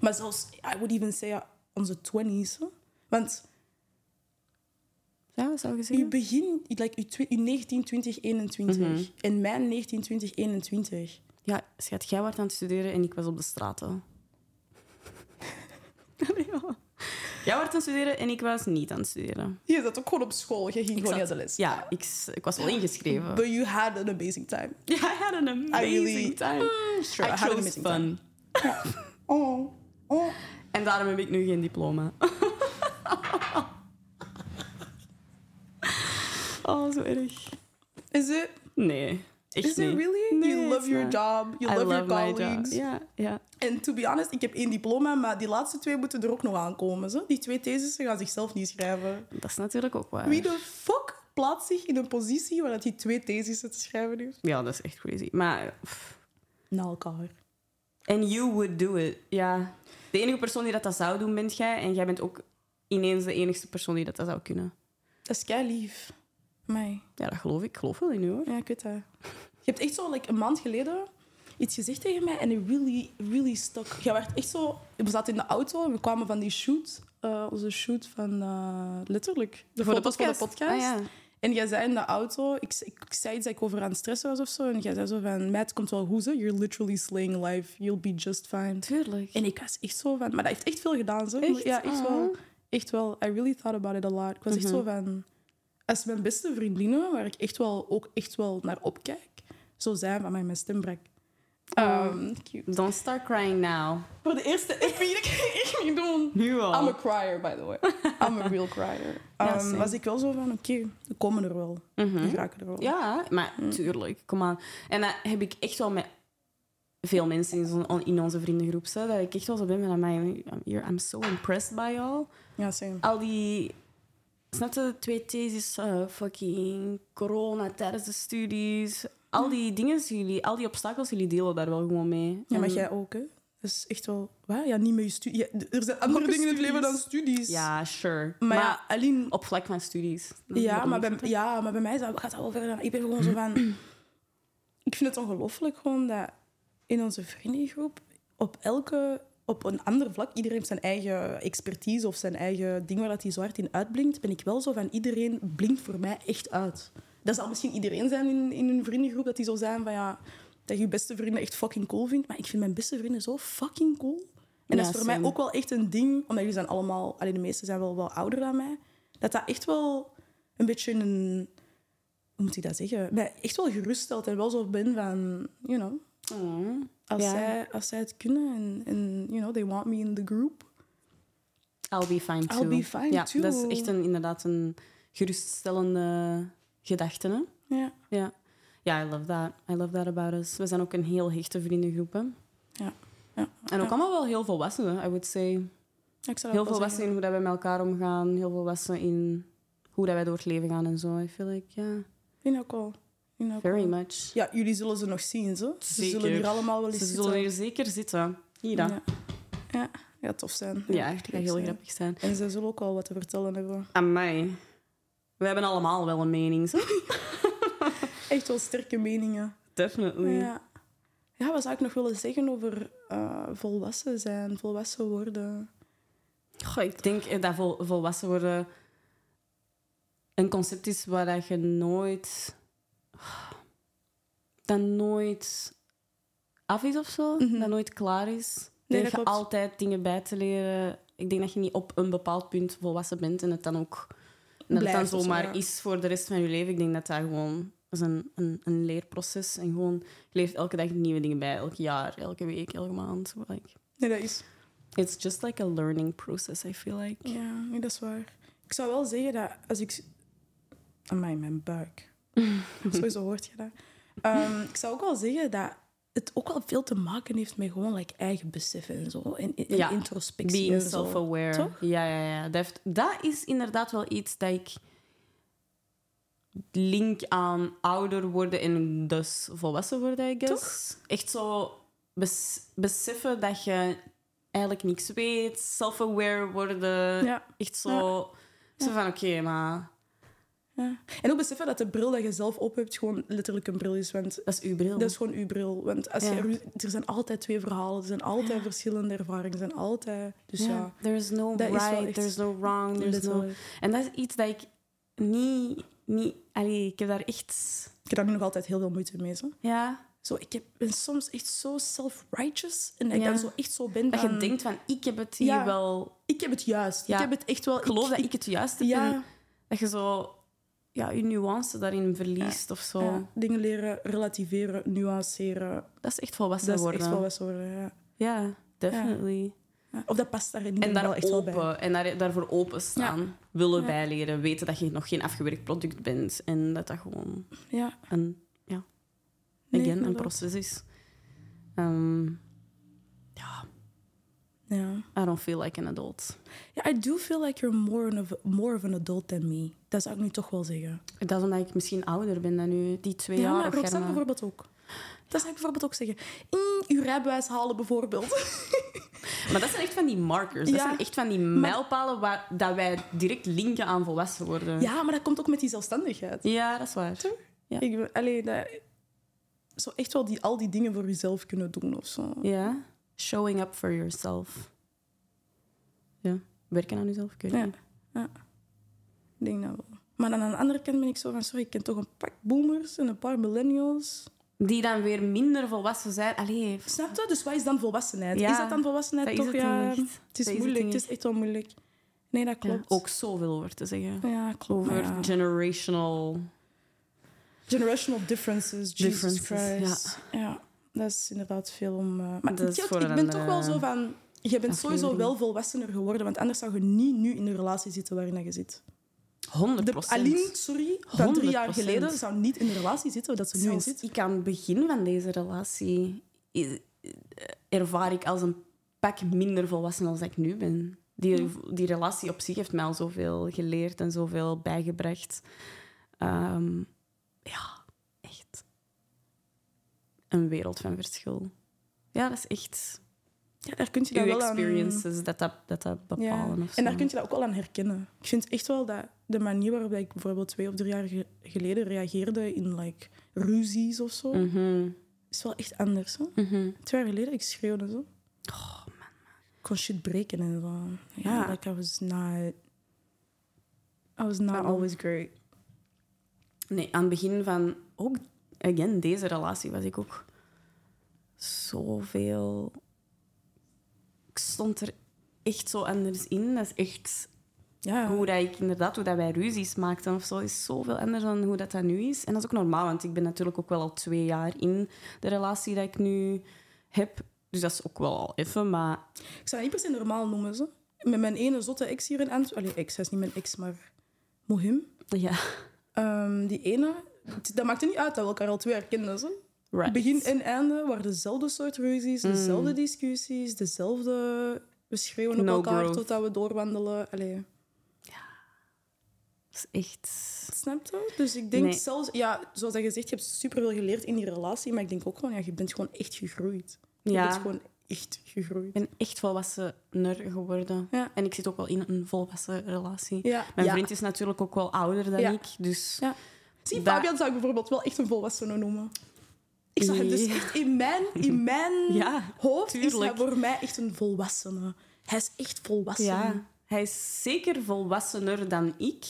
Maar zelfs, I would even say, ja, onze twenties. Want Ja, wat zou je U zeggen? begin, like, u, twi- uw 19, 20, 21. En mijn 19, 20, 21. Ja, schat, jij was aan het studeren en ik was op de straten. nee, hoor. Jij was aan het studeren en ik was niet aan het studeren. Je zat ook gewoon op school. Je ging gewoon zat- naar de les. Ja, ik, s- ik was wel ingeschreven. But you had an amazing time. Ja, I had an amazing really- time. Ah, Mm, sure, I I had an chose amazing fun. Oh. Oh. En daarom heb ik nu geen diploma. oh, zo erg. Is it, Nee, echt is it niet. really? Nee, you love is your waar. job. You I love, your my job. colleagues. Ja, ja. En to be honest, ik heb één diploma, maar die laatste twee moeten er ook nog aankomen. Zo. Die twee thesissen gaan zichzelf niet schrijven. Dat is natuurlijk ook waar. Wie de fuck plaatst zich in een positie waar dat die twee thesissen te schrijven heeft? Ja, dat is echt crazy. Maar... pff. Na elkaar. And you would do it. Ja. De enige persoon die dat, dat zou doen, bent jij. En jij bent ook ineens de enigste persoon die dat, dat zou kunnen. Dat is kei lief. Mij. Ja, dat geloof ik. Ik geloof wel in u, hoor. Ja, ik weet dat. Je hebt echt zo like, een maand geleden iets gezegd tegen mij en it really, really stuck. Jij werd echt zo... We zaten in de auto en we kwamen van die shoot, eh, onze shoot van... eh, letterlijk, de Voor de foto's podcast. voor de podcast. Ah, ja. En jij zei in de auto... Ik, ik, ik zei iets dat ik over aan het stressen was of zo. En jij zei zo van... Matt, het komt wel goed, hè. You're literally slaying life. You'll be just fine. Tuurlijk. En ik was echt zo van... Maar dat heeft echt veel gedaan, zo. Echt? Ja, echt Ah. wel. Echt wel. I really thought about it a lot. Ik was echt zo van... Als mijn beste vriendinnen, waar ik echt wel, ook echt wel naar opkijk, zo zijn van mij, mijn stembrek. Oh, cute. Don't start crying now. Voor de eerste EP dat ik echt ging doen. Nu al. I'm a crier, by the way. I'm a real crier. Ja, Ehm, same. was ik wel zo van, oké, we komen er wel. We Mhm. geraken er wel. Ja, maar tuurlijk, kom aan. En dat heb ik echt wel met veel mensen in, zo'n- in onze vriendengroep. Zo, dat ik echt wel zo ben met mij. I'm so impressed by all. Ja, same. Al die. Snap je, twee theses, eh, fucking corona tijdens de studies. Al die dingen, jullie, al die obstakels, jullie delen daar wel gewoon mee. Mm. Ja, maar En- jij ook, hè. Dat is echt wel... Waar? Ja, niet met je studie. Ja, er zijn andere dingen in het leven dan studies. Ja, sure. Maar, Maar, ja, alleen op vlak van studies. Ja maar, bij, ja, maar bij mij is dat- gaat dat wel verder. dan- Ik ben gewoon zo van... Ik vind het ongelooflijk gewoon dat in onze vriendengroep op elke... Op een ander vlak, iedereen heeft zijn eigen expertise of zijn eigen ding waar dat hij zo hard in uitblinkt, ben ik wel zo van iedereen blinkt voor mij echt uit. Dat zal misschien iedereen zijn in, in hun vriendengroep, dat die zo zijn van ja, dat je je beste vrienden echt fucking cool vindt. Maar ik vind mijn beste vrienden zo fucking cool. En Ja, dat is voor mij same. ook wel echt een ding, omdat jullie zijn allemaal, alleen de meesten zijn wel, wel ouder dan mij, dat dat echt wel een beetje een, hoe moet ik dat zeggen, mij echt wel geruststelt en wel zo ben van, you know, Oh. als, Ja. zij, als zij het kunnen en, en, you know, they want me in the group. I'll be fine too. I'll be fine ja, too. Dat is echt een, inderdaad een geruststellende gedachte. Hè? Ja, Ja. Ja, I love that. I love that about us. We zijn ook een heel hechte vriendengroep. hè. ja. ja. En ook allemaal wel heel volwassen, I would say. Ik zou dat Heel wel volwassen zeggen. in hoe dat wij met elkaar omgaan. Heel volwassen in hoe dat wij door het leven gaan en zo. I feel like, ja, Ik vind dat ook wel. Ik vind dat ook very wel. much. Ja, dus jullie zullen ze nog zien, zo. Ze zullen Zeker. hier allemaal wel eens Ze zitten. zullen hier zeker zitten. Hier dan. Ja, Ja. Ja. ja, tof zijn. echt leuk heel zijn. grappig zijn. En ze zullen ook al wat te vertellen hebben. Aan mij. We hebben allemaal wel een mening. zo. Echt wel sterke meningen. Definitely. Ja. ja, wat zou ik nog willen zeggen over eh, volwassen zijn, volwassen worden? Goh, ik denk eh, dat vol- volwassen worden een concept is waar dat je nooit. dat nooit af is of zo, dat nooit klaar is. Mhm. Nee, dat dat je klopt. altijd dingen bij te leren. Ik denk dat je niet op een bepaald punt volwassen bent en het dan ook en dat het dan Blijft of zo, zomaar ja. is voor de rest van je leven. Ik denk dat dat gewoon dat is een, een, een leerproces en gewoon je leeft elke dag nieuwe dingen bij, elk jaar, elke week, elke maand. Like, Nee, dat is... it's just like a learning process, I feel like. Ja, nee, dat is waar. Ik zou wel zeggen dat als ik... s- Amai, mijn buik. Sowieso hoort je dat. Ehm, ik zou ook wel zeggen dat het ook wel veel te maken heeft met gewoon like, eigen beseffen en zo. En, en- en Ja, introspectie Being en zo. self-aware. Toch? Ja, ja, ja. Dat, heeft- dat is inderdaad wel iets dat ik link aan ouder worden en dus volwassen worden, I guess. Echt zo bes- beseffen dat je eigenlijk niks weet, self-aware worden. Ja. Echt zo, zo van, oké, maar Ja. En ook beseffen dat de bril dat je zelf op hebt gewoon letterlijk een bril is. Want dat is uw bril. dat is gewoon uw bril. Want als Ja. je, er- er zijn altijd twee verhalen, er zijn altijd verschillende ervaringen, er zijn altijd... Dus Ja, ja, There is no Dat is wel right, echt there is no wrong, there is no... letterlijk. En dat is iets dat ik niet... niet allee, ik heb daar echt... Ik heb daar nu nog altijd heel veel moeite mee, zo. Ja, Zo, ik heb, ben soms echt zo self-righteous. En dat ik Ja. dan zo echt zo ben Dat van... je denkt van, ik heb het hier Ja. wel... Ik heb het juist. Ja. Ik heb het echt wel... Ik geloof dat ik het juist heb. en Ja, Dat je zo ja, je nuance daarin verliest of zo. ja, dingen leren relativeren, nuanceren. Dat is echt volwassen Dat is worden. echt wel wat zo worden, ja. Ja, definitely. Ja. Of dat past daar in En ieder daar geval echt wel bij. open, en daar, daarvoor openstaan. Willen Ja. bijleren. Weten dat je nog geen afgewerkt product bent. En dat dat gewoon Ja. een, ja, Nee, again, een inderdaad. proces is. Ehm, ja. I don't feel like an adult. Ja, I do feel like you're more of, more of an adult than me. Dat zou ik nu toch wel zeggen. Dat is omdat ik misschien ouder ben dan nu. Die twee Ja, jaar maar of Roxanne Germa. bijvoorbeeld ook. Dat zou ik bijvoorbeeld ook zeggen. Mm, uw rijbewijs halen bijvoorbeeld. Maar dat zijn echt van die markers. Dat Ja. zijn echt van die mijlpalen waar dat wij direct linken aan volwassen worden. Ja, maar dat komt ook met die zelfstandigheid. Ja, dat is waar. Ja. Ik, ben- allee, dat, zo echt wel die, al die dingen voor jezelf kunnen doen of zo. Ja. Showing up for yourself. Ja. Werken aan jezelf, kun je. Ja. ja. Ik denk dat wel. Maar dan aan de andere kant ben ik zo van, sorry, ik ken toch een pak boomers en een paar millennials. Die dan weer minder volwassen zijn. Allee, f- Snap je? Dus wat is dan volwassenheid? Ja. Is dat dan volwassenheid? dat is toch, het ja. niet echt. Het is Dat moeilijk, het, niet is echt wel moeilijk. Nee, dat echt. Ja. klopt. Ook zoveel over te zeggen. Ja, klopt. Over maar ja. generational... Generational differences, Jesus Differences, Christ. Ja. dat is inderdaad veel om... eh, maar Dat is ik, voor ik een eh, ben toch andere wel zo van... Je bent sowieso aflevering. wel volwassener geworden, want anders zou je niet nu in de relatie zitten waarin dat je zit. 100 De Aline, sorry, van drie jaar 100%. geleden zou niet in de relatie zitten dat ze nu in Zelfs zit. ik aan het begin van deze relatie i- i- ervaar ik als een pak minder volwassen dan ik nu ben. Die, die relatie op zich heeft mij al zoveel geleerd en zoveel bijgebracht. Ehm, ja, echt. Een wereld van verschil. Ja, dat is echt Ja, daar kun je dat uw wel aan... experiences dat, dat, dat dat bepalen. Ja. En of zo. daar kun je dat ook wel aan herkennen. Ik vind echt wel dat de manier waarop ik bijvoorbeeld twee of drie jaar ge- geleden reageerde in like, ruzies of zo, Mhm, is wel echt anders. Hè? mhm. Twee jaar geleden, ik schreeuwde zo. Oh, man. Ik kon shit breken en zo. Ja, Ja. like I was not... I was not Waarom? always great. Nee, aan het begin van ook, again, deze relatie was ik ook zoveel. Ik stond er echt zo anders in. Dat is echt Ja. hoe dat ik inderdaad, hoe dat wij ruzies maakten of zo, is zoveel anders dan hoe dat, dat nu is. En dat is ook normaal, want ik ben natuurlijk ook wel al twee jaar in de relatie dat ik nu heb. Dus dat is ook wel al even, maar Ik zou het niet per se normaal noemen. Zo. Met mijn ene zotte ex hier in Antwerpen... Allee, ex, hij is niet mijn ex, maar Mohim. ja. Ehm, die ene... Dat maakte niet uit dat we elkaar al twee jaar kenden. Zo. Right. Mm. Begin en einde waren dezelfde soort ruzies, dezelfde discussies, dezelfde... We schreeuwen op No elkaar growth. totdat we doorwandelen. Allee, Dat is echt. snap je? Dus ik denk Nee. zelfs... Ja, zoals dat je zegt, je hebt superveel geleerd in die relatie. Maar ik denk ook gewoon, ja, je bent gewoon echt gegroeid. Je Ja. bent gewoon echt gegroeid. Ik ben echt volwassener geworden. Ja. En ik zit ook wel in een volwassen relatie. Ja. Mijn Ja. vriend is natuurlijk ook wel ouder dan Ja. ik. Dus Ja. Zie, Da- Fabian zou ik bijvoorbeeld wel echt een volwassene noemen. Ik zou hem dus Ja. echt in mijn, in mijn Ja, hoofd is tuurlijk. hij voor mij echt een volwassene. Hij is echt volwassen. ja, hij is zeker volwassener dan ik.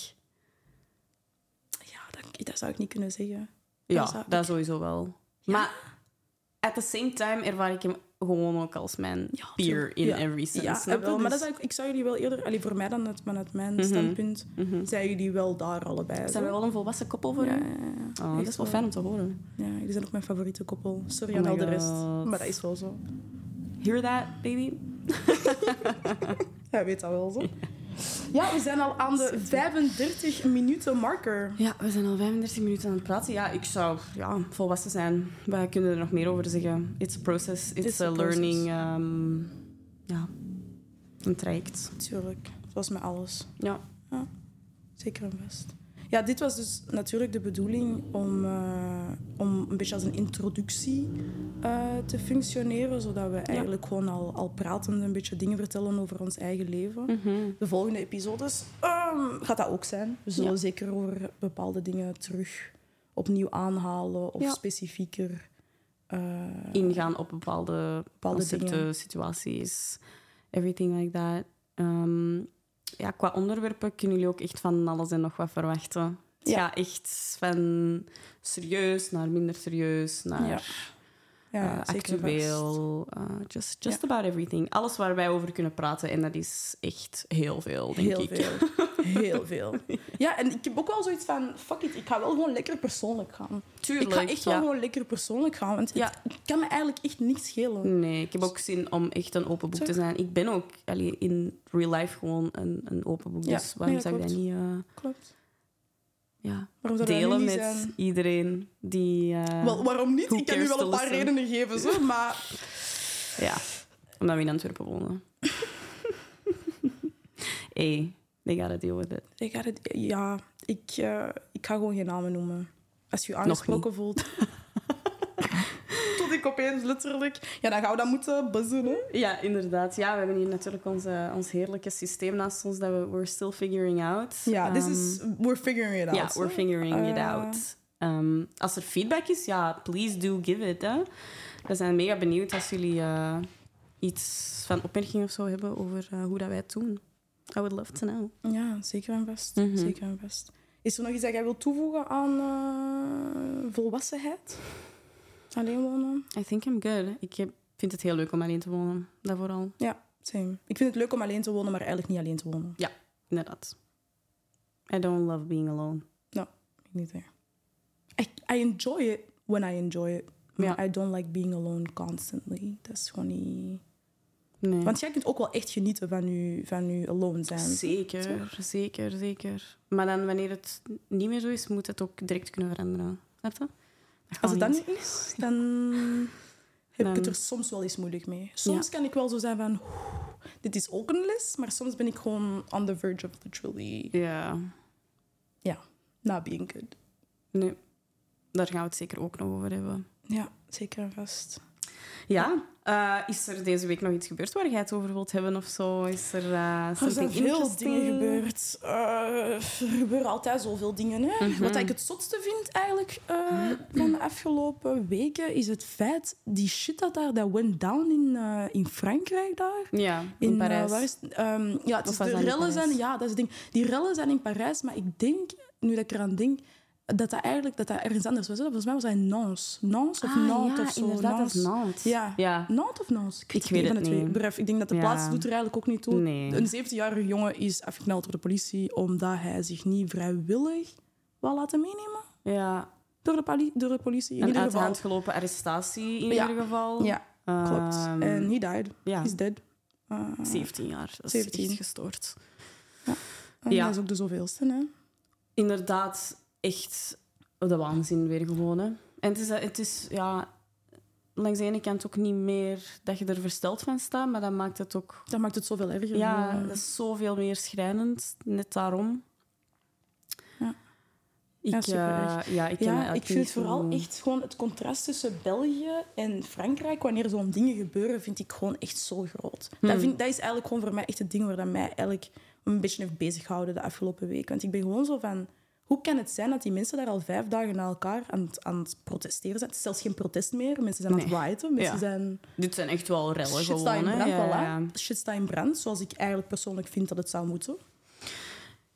Ja, dat, dat zou ik niet kunnen zeggen. Ja, zou ik- dat sowieso wel. Maar at the same time ervaar ik hem gewoon ook als mijn Ja, peer tuurlijk. in Ja. every sense. Ja, snap je? wel, maar Dus dat is eigenlijk- ik zou jullie wel eerder, allee, voor mij dan uit, maar uit mijn standpunt, zijn jullie wel daar allebei. Mhm. Zijn we zo. wel een volwassen koppel voor Ja, u? ja, ja. Oh, dat is Echt wel wel. fijn om te horen. Ja, jullie zijn ook mijn favoriete koppel. Sorry Oh aan my al de God. rest. Maar dat is wel zo. Hear that, baby? Hij weet dat wel zo. Ja, we zijn al aan de 35 minuten marker. Ja, we zijn al 35 minuten aan het praten. Ja, ik zou ja, volwassen zijn. Wij kunnen er nog meer over zeggen. It's a process. It's, It's a, a process. learning. ehm, ja, een traject. Tuurlijk, zoals met alles. Ja. Zeker en vast. Ja, dit was dus natuurlijk de bedoeling om, eh, om een beetje als een introductie eh, te functioneren, zodat we eigenlijk gewoon al, al pratend een beetje dingen vertellen over ons eigen leven. Mhm. De volgende episodes ehm, gaat dat ook zijn. We zullen Ja. zeker over bepaalde dingen terug opnieuw aanhalen of Ja. specifieker. eh, Ingaan op bepaalde, Bepaalde concepten, dingen. situaties. Everything like that. Ehm, ja, qua onderwerpen kunnen jullie ook echt van alles en nog wat verwachten. Het Ja. gaat echt van serieus naar minder serieus, naar... Ja. eh, ja, zeker en vast. actueel, eh, just, just about everything. Alles waar wij over kunnen praten. En dat is echt heel veel, denk Heel ik. veel. Heel veel. Ja, en ik heb ook wel zoiets van: fuck it, ik ga wel gewoon lekker persoonlijk gaan. Tuurlijk, ik ga echt ja. wel gewoon lekker persoonlijk gaan, want Ja. het kan me eigenlijk echt niks schelen. Nee, ik heb ook zin om echt een open boek Zo. te zijn. Ik ben ook allee, in real life gewoon een, een open boek. Ja, Dus waarom nee, dat zou ik dat klopt. niet eh, Klopt. ja, Waarom zou dat delen nu met niet zijn? iedereen die... eh, Wel, waarom niet? who Ik kan u cares wel to een paar listen? redenen geven, zo, maar... Ja, omdat we in Antwerpen wonen. hey, they gotta deal with it. Ik ga het, ja, ik, eh, ik ga gewoon geen namen noemen. Als je je aangesproken voelt... Tot ik opeens letterlijk... Ja, dan gaan we dat moeten buzzen, hè. Ja, inderdaad. Ja, we hebben hier natuurlijk ons, eh, ons heerlijke systeem naast ons dat we we're still figuring out. Ja, this Ehm, is... We're figuring it out. Ja, we're hè. figuring it Eh. out. Ehm, als er feedback is, ja, please do give it. Hè. We zijn mega benieuwd als jullie eh, iets van opmerking of zo hebben over eh, hoe dat wij het doen. I would love to know. Ja, zeker en vast. Mhm. Zeker en vast. Is er nog iets dat jij wilt toevoegen aan eh, volwassenheid? Alleen wonen? I think I'm good. Ik heb- vind het heel leuk om alleen te wonen. Dat vooral. Ja, same. Ik vind het leuk om alleen te wonen, maar eigenlijk niet alleen te wonen. Inderdaad. I don't love being alone. Ik niet meer. I, I enjoy it when I enjoy it. Maar Ja. I don't like being alone constantly. Dat is gewoon niet... Nee. Want jij kunt ook wel echt genieten van je, van je alone zijn. Zeker, zeker, zeker. Maar dan wanneer het niet meer zo is, moet het ook direct kunnen veranderen. Snap je? Dat Als gaat het dan niet. niet is, dan heb ik het Dan- er soms wel eens moeilijk mee. Soms kan ik wel zo zijn van, "Oeh, dit is ook een les, maar soms ben ik gewoon on the verge of literally Ja, not being good. nee. Daar gaan we het zeker ook nog over hebben. Ja, zeker en vast. Ja, eh, is er deze week nog iets gebeurd waar jij het over wilt hebben of zo? Is er eh Er zijn something veel interesting? dingen gebeurd. Eh, er gebeuren altijd zoveel dingen. Hè? Mhm. Wat ik het zotste vind eigenlijk eh, van de afgelopen weken, is het feit, die shit dat daar dat went down in, eh, in Frankrijk daar. Ja, in, In, eh, Parijs. waar is het? Ehm, ja, het Of is was de dat in rellen zijn, Parijs? ja, dat is het ding. Die rellen zijn in Parijs, maar ik denk, nu dat ik eraan denk, dat dat eigenlijk dat dat ergens anders was. Volgens mij was hij Nans. Nans of Ah, Nantes ja, of zo. inderdaad, dat is Nantes. Nantes. Ja. ja. Nantes of Nans? Ik weet van het de twee. niet. Bref, ik denk dat de Ja. plaats doet er eigenlijk ook niet toe. Nee. Een 17-jarige jongen is afgekneld door de politie omdat hij zich niet vrijwillig wil laten meenemen ja. door de, poli- door de politie. In Een ieder uit de geval. hand gelopen arrestatie in Ja. ieder geval. Ja, klopt. Ehm, En he died. ja. He's dead. Eh, 17 jaar. Dat is 17. echt gestoord. en ja. Dat is ook de zoveelste, hè? inderdaad echt de waanzin weer gewoon. Hè. En het is, het is ja, langs de ene kant ook niet meer dat je er versteld van staat, maar dat maakt het ook Dat maakt het zoveel erger. ja, Gewoon. dat is zoveel meer schrijnend, net daarom. Ja. Ik, Ja, ja, supererg. ja, ik, ken dat Ja, eigenlijk ik vind niet zo vooral goed. echt gewoon het contrast tussen België en Frankrijk, wanneer zo'n dingen gebeuren, vind ik gewoon echt zo groot. Hmm. Dat, vind, dat is eigenlijk gewoon voor mij echt het ding waar dat mij eigenlijk een beetje heeft bezighouden de afgelopen week. Want ik ben gewoon zo van, hoe kan het zijn dat die mensen daar al vijf dagen na elkaar aan het, aan het protesteren zijn? Het is zelfs geen protest meer, mensen zijn aan het Nee. waaien, mensen Ja. zijn... Dit zijn echt wel rellen Shit gewoon. staat in hè. brand, Ja, voilà. ja. Shit staat in brand, zoals ik eigenlijk persoonlijk vind dat het zou moeten.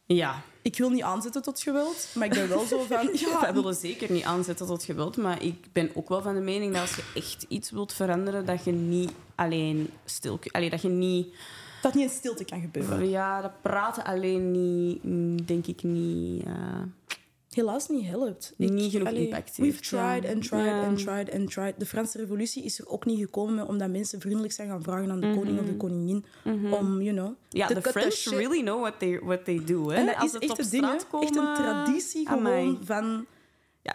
Ja, Ik wil niet aanzetten tot geweld, maar ik ben wel zo van... wij Ja, willen zeker niet aanzetten tot geweld, maar ik ben ook wel van de mening dat als je echt iets wilt veranderen, dat je niet alleen stil... Allee, dat je niet... dat niet in stilte kan gebeuren. Ja, dat praten alleen niet, mm, denk ik niet... eh, helaas niet helpt. Ik- Niet genoeg impact We've heeft, ja. tried and tried Ja. and tried and tried. De Franse revolutie is er ook niet gekomen omdat mensen vriendelijk zijn gaan vragen aan de koning of de koningin om, you know... Mhm. Ja, te the cut their French shit. really know what they, what they do. Hè? En dat Als is het echt op een ding, hè. straat komen... echt een traditie gewoon Amai. van... Ja,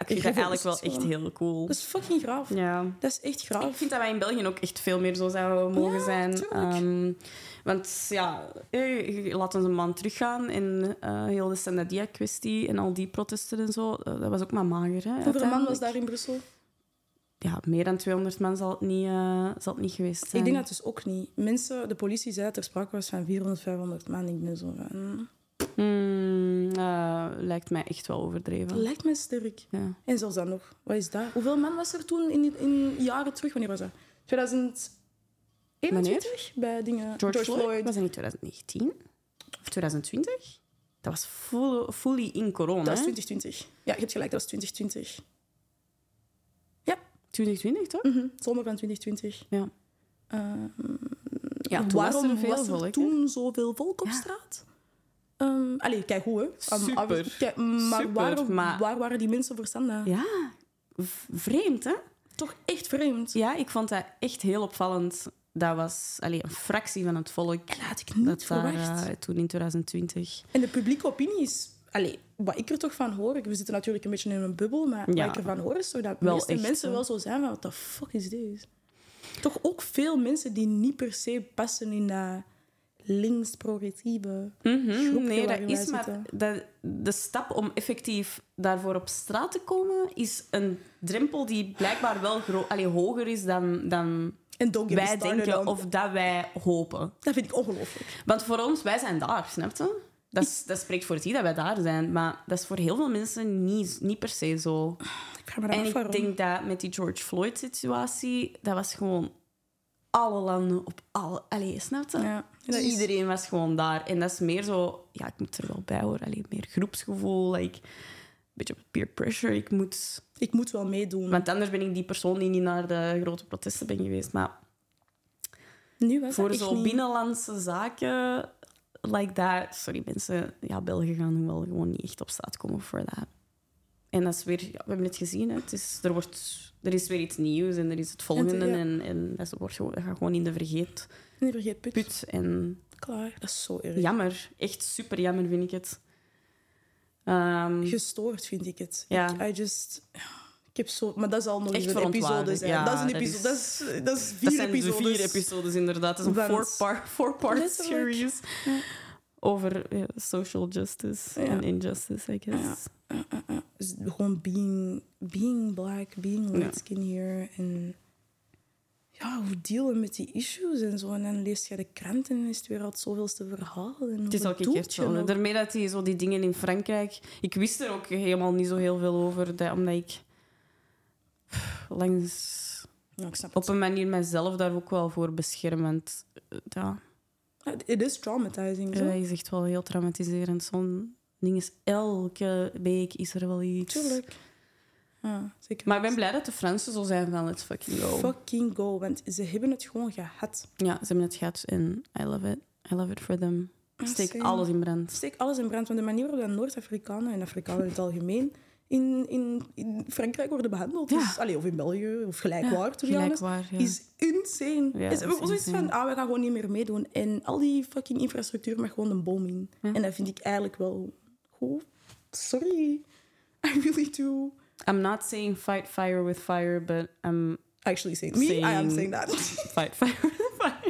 ik vind Ik vind dat eigenlijk het wel zo- echt heel cool. Dat is fucking graaf. Ja. Dat is echt Ik graaf. vind dat wij in België ook echt veel meer zo zouden mogen Ja, zijn. tuurlijk. Ehm, want ja, eh, laat ons een maand teruggaan in eh, heel de Sandadia-kwestie en al die protesten en zo. eh, dat was ook maar mager. Hè, Hoeveel man was uiteindelijk. daar in Brussel? Ja, meer dan 200 man zal het niet, eh, zal het niet geweest zijn. Ik denk dat dus ook niet. Mensen, de politie zei dat er sprake was van 400, 500 man. Ik ben zo van... "Mm, Hmm, eh, lijkt mij echt wel overdreven. Dat lijkt mij sterk. ja. En zelfs dan nog. Wat is dat? Hoeveel man was er toen in, in jaren terug? Wanneer was dat? 2021? Bij dingen... George, Floyd, was dat niet 2019? Of 2020? Dat was full- fully in corona. Dat is hè? 2020. Ja, je hebt gelijk, dat is 2020. Ja, 2020, toch? mhm, zomer van 2020. Ja. Ehm, Ja, toen waarom was er veel was er volk, hè? toen zoveel volk op Ja. straat? Ehm allee, kijk hoe, hè. Ehm, Super. af- kijk, maar, Super, waar, maar- waar waren die mensen voor standaard? Ja, v- vreemd hè? Toch echt vreemd. Ja, ik vond dat echt heel opvallend. Dat was allee, een fractie van het volk Dat had ik niet dat daar verwacht. eh, toen in 2020. En de publieke opinie is... Allee, wat ik er toch van hoor... We zitten natuurlijk een beetje in een bubbel, maar Ja. wat ik ervan hoor is toch dat de Wel meeste echt, mensen hè. wel zo zijn van... What the fuck is dit? Toch ook veel mensen die niet per se passen in dat links-progressieve groepje Mhm, Nee, dat waarin wij is maar. zitten. Dat, de stap om effectief daarvoor op straat te komen is een drempel die blijkbaar wel gro- allee, hoger is dan, dan En don't get me wij started denken on- of dat wij hopen. Dat vind ik ongelooflijk. Want voor ons, wij zijn daar, snap je? Dat, is- dat spreekt voor het dat wij daar zijn, maar dat is voor heel veel mensen niet, niet per se zo. Ik vraag me dat En af ik waarom. denk dat met die George Floyd-situatie, dat was gewoon alle landen op alle... Allee, snap je? Ja, dat is- Iedereen was gewoon daar. En dat is meer zo... Ja, ik moet er wel bij horen. Allee, meer groepsgevoel. Like, een beetje peer pressure. Ik moet... Ik moet wel meedoen. Want anders ben ik die persoon die niet naar de grote protesten ben geweest. Maar nu was voor dat echt zo niet. binnenlandse zaken... Like dat... Sorry, mensen. Ja, Belgen gaan wel gewoon niet echt op straat komen voor dat. En dat is weer... ja, we hebben het gezien. Hè. Het is, er, wordt, er is weer iets nieuws en er is het volgende. En, ja. en, dat, wordt gewoon, dat gaat gewoon in de vergeetput. Nee, vergeet put. En Klaar. Dat is zo erg. jammer. Echt super jammer vind ik het. Ehm, gestoord, vind ik het. Ja. Ik, I just... Ik heb zo... Maar dat is al nog eens Echt een episode verontwaardigd, zijn. ja, dat is een dat episode. is- Dat is, dat is, vier dat zijn dus episodes. de vier episodes inderdaad. Dat is een Want- four-part four Letterlijk. series over eh, social justice Ja. en injustice, I guess. Dus gewoon being, being black, being light skin here. En ja, hoe dealen met die issues en zo. En dan lees je de krant en is het weer al het zoveelste verhaal. En Het is elke keer zo. Daarmee dat die, zo die dingen in Frankrijk... Ik wist er ook helemaal niet zo heel veel over, dat- omdat ik langs... Ja, ik snap Op het. een manier mezelf daar ook wel voor beschermend. Ja, Het is traumatizing, zo. dat is echt wel heel traumatiserend. Zo'n ding is elke week is er wel iets. Tuurlijk. Ja, zeker. Maar ik ben blij dat de Fransen zo zijn van let's fucking go. Fucking go, want ze hebben het gewoon gehad. Ja, ze hebben het gehad en I love it. I love it for them. Steek Ah, same. alles in brand. steek alles in brand. Want de manier waarop dat Noord-Afrikanen en Afrikanen in het algemeen in, in, in Frankrijk worden behandeld, Ja. is, allee, of in België, of gelijkwaar, to be honest, Gelijkwaar, ja. is insane. Ja, is, dat ook is zoiets insane. van, ah, we gaan gewoon niet meer meedoen. En al die fucking infrastructuur mag gewoon een boom in. En dat vind ik eigenlijk wel goed. Sorry. I really do. I'm not saying fight fire with fire, but I'm Actually saying me, I am Saying- saying that. fight fire with fire.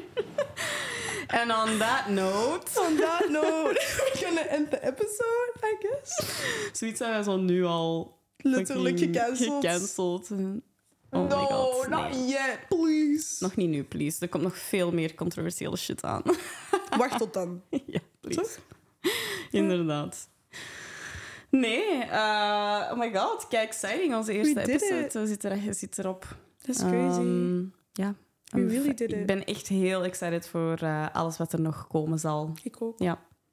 And on that note... On that note, we're gonna end the episode, I guess. Zoiets zijn wij zo nu al... Letterlijk fucking gecanceld. gecanceld. Oh no, my god, not nee. yet, please. Nog niet nu, please. Er komt nog veel meer controversiële shit aan. Wacht tot dan. ja, please. Toch? Inderdaad. Nee, eh, oh my god, kijk, exciting, onze eerste did it. episode. We zitten er- je zit erop. That's crazy. Ehm, ja. We I'm really fe- did Ik it. ben echt heel excited voor eh, alles wat er nog komen zal. ik ook. Ja,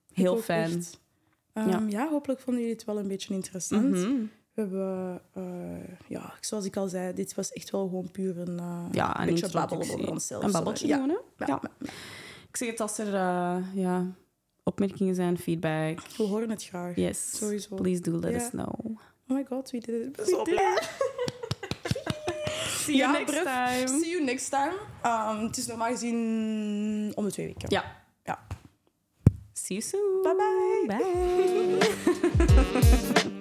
Ik heel ook fijn. echt. Ehm, Ehm, Ja. ja. hopelijk vonden jullie het wel een beetje interessant. Mhm. We hebben, eh, ja, zoals ik al zei, dit was echt wel gewoon puur een eh, Ja, een beetje babbelen introductie. over onszelf. Een Zo, babbeltje ja. gewoon, hè? Ja. Ja. Ik zeg het als er eh, ja, opmerkingen zijn, feedback. We horen het graag. Yes. Sowieso. Please do let Ja. us know. Oh my god, wie did it? Ik ben zo blij. See you Ja, next bref. time. See you next time. Ehm, het is normaal gezien om de twee weken. Ja. Ja. See you soon. Bye bye. Bye.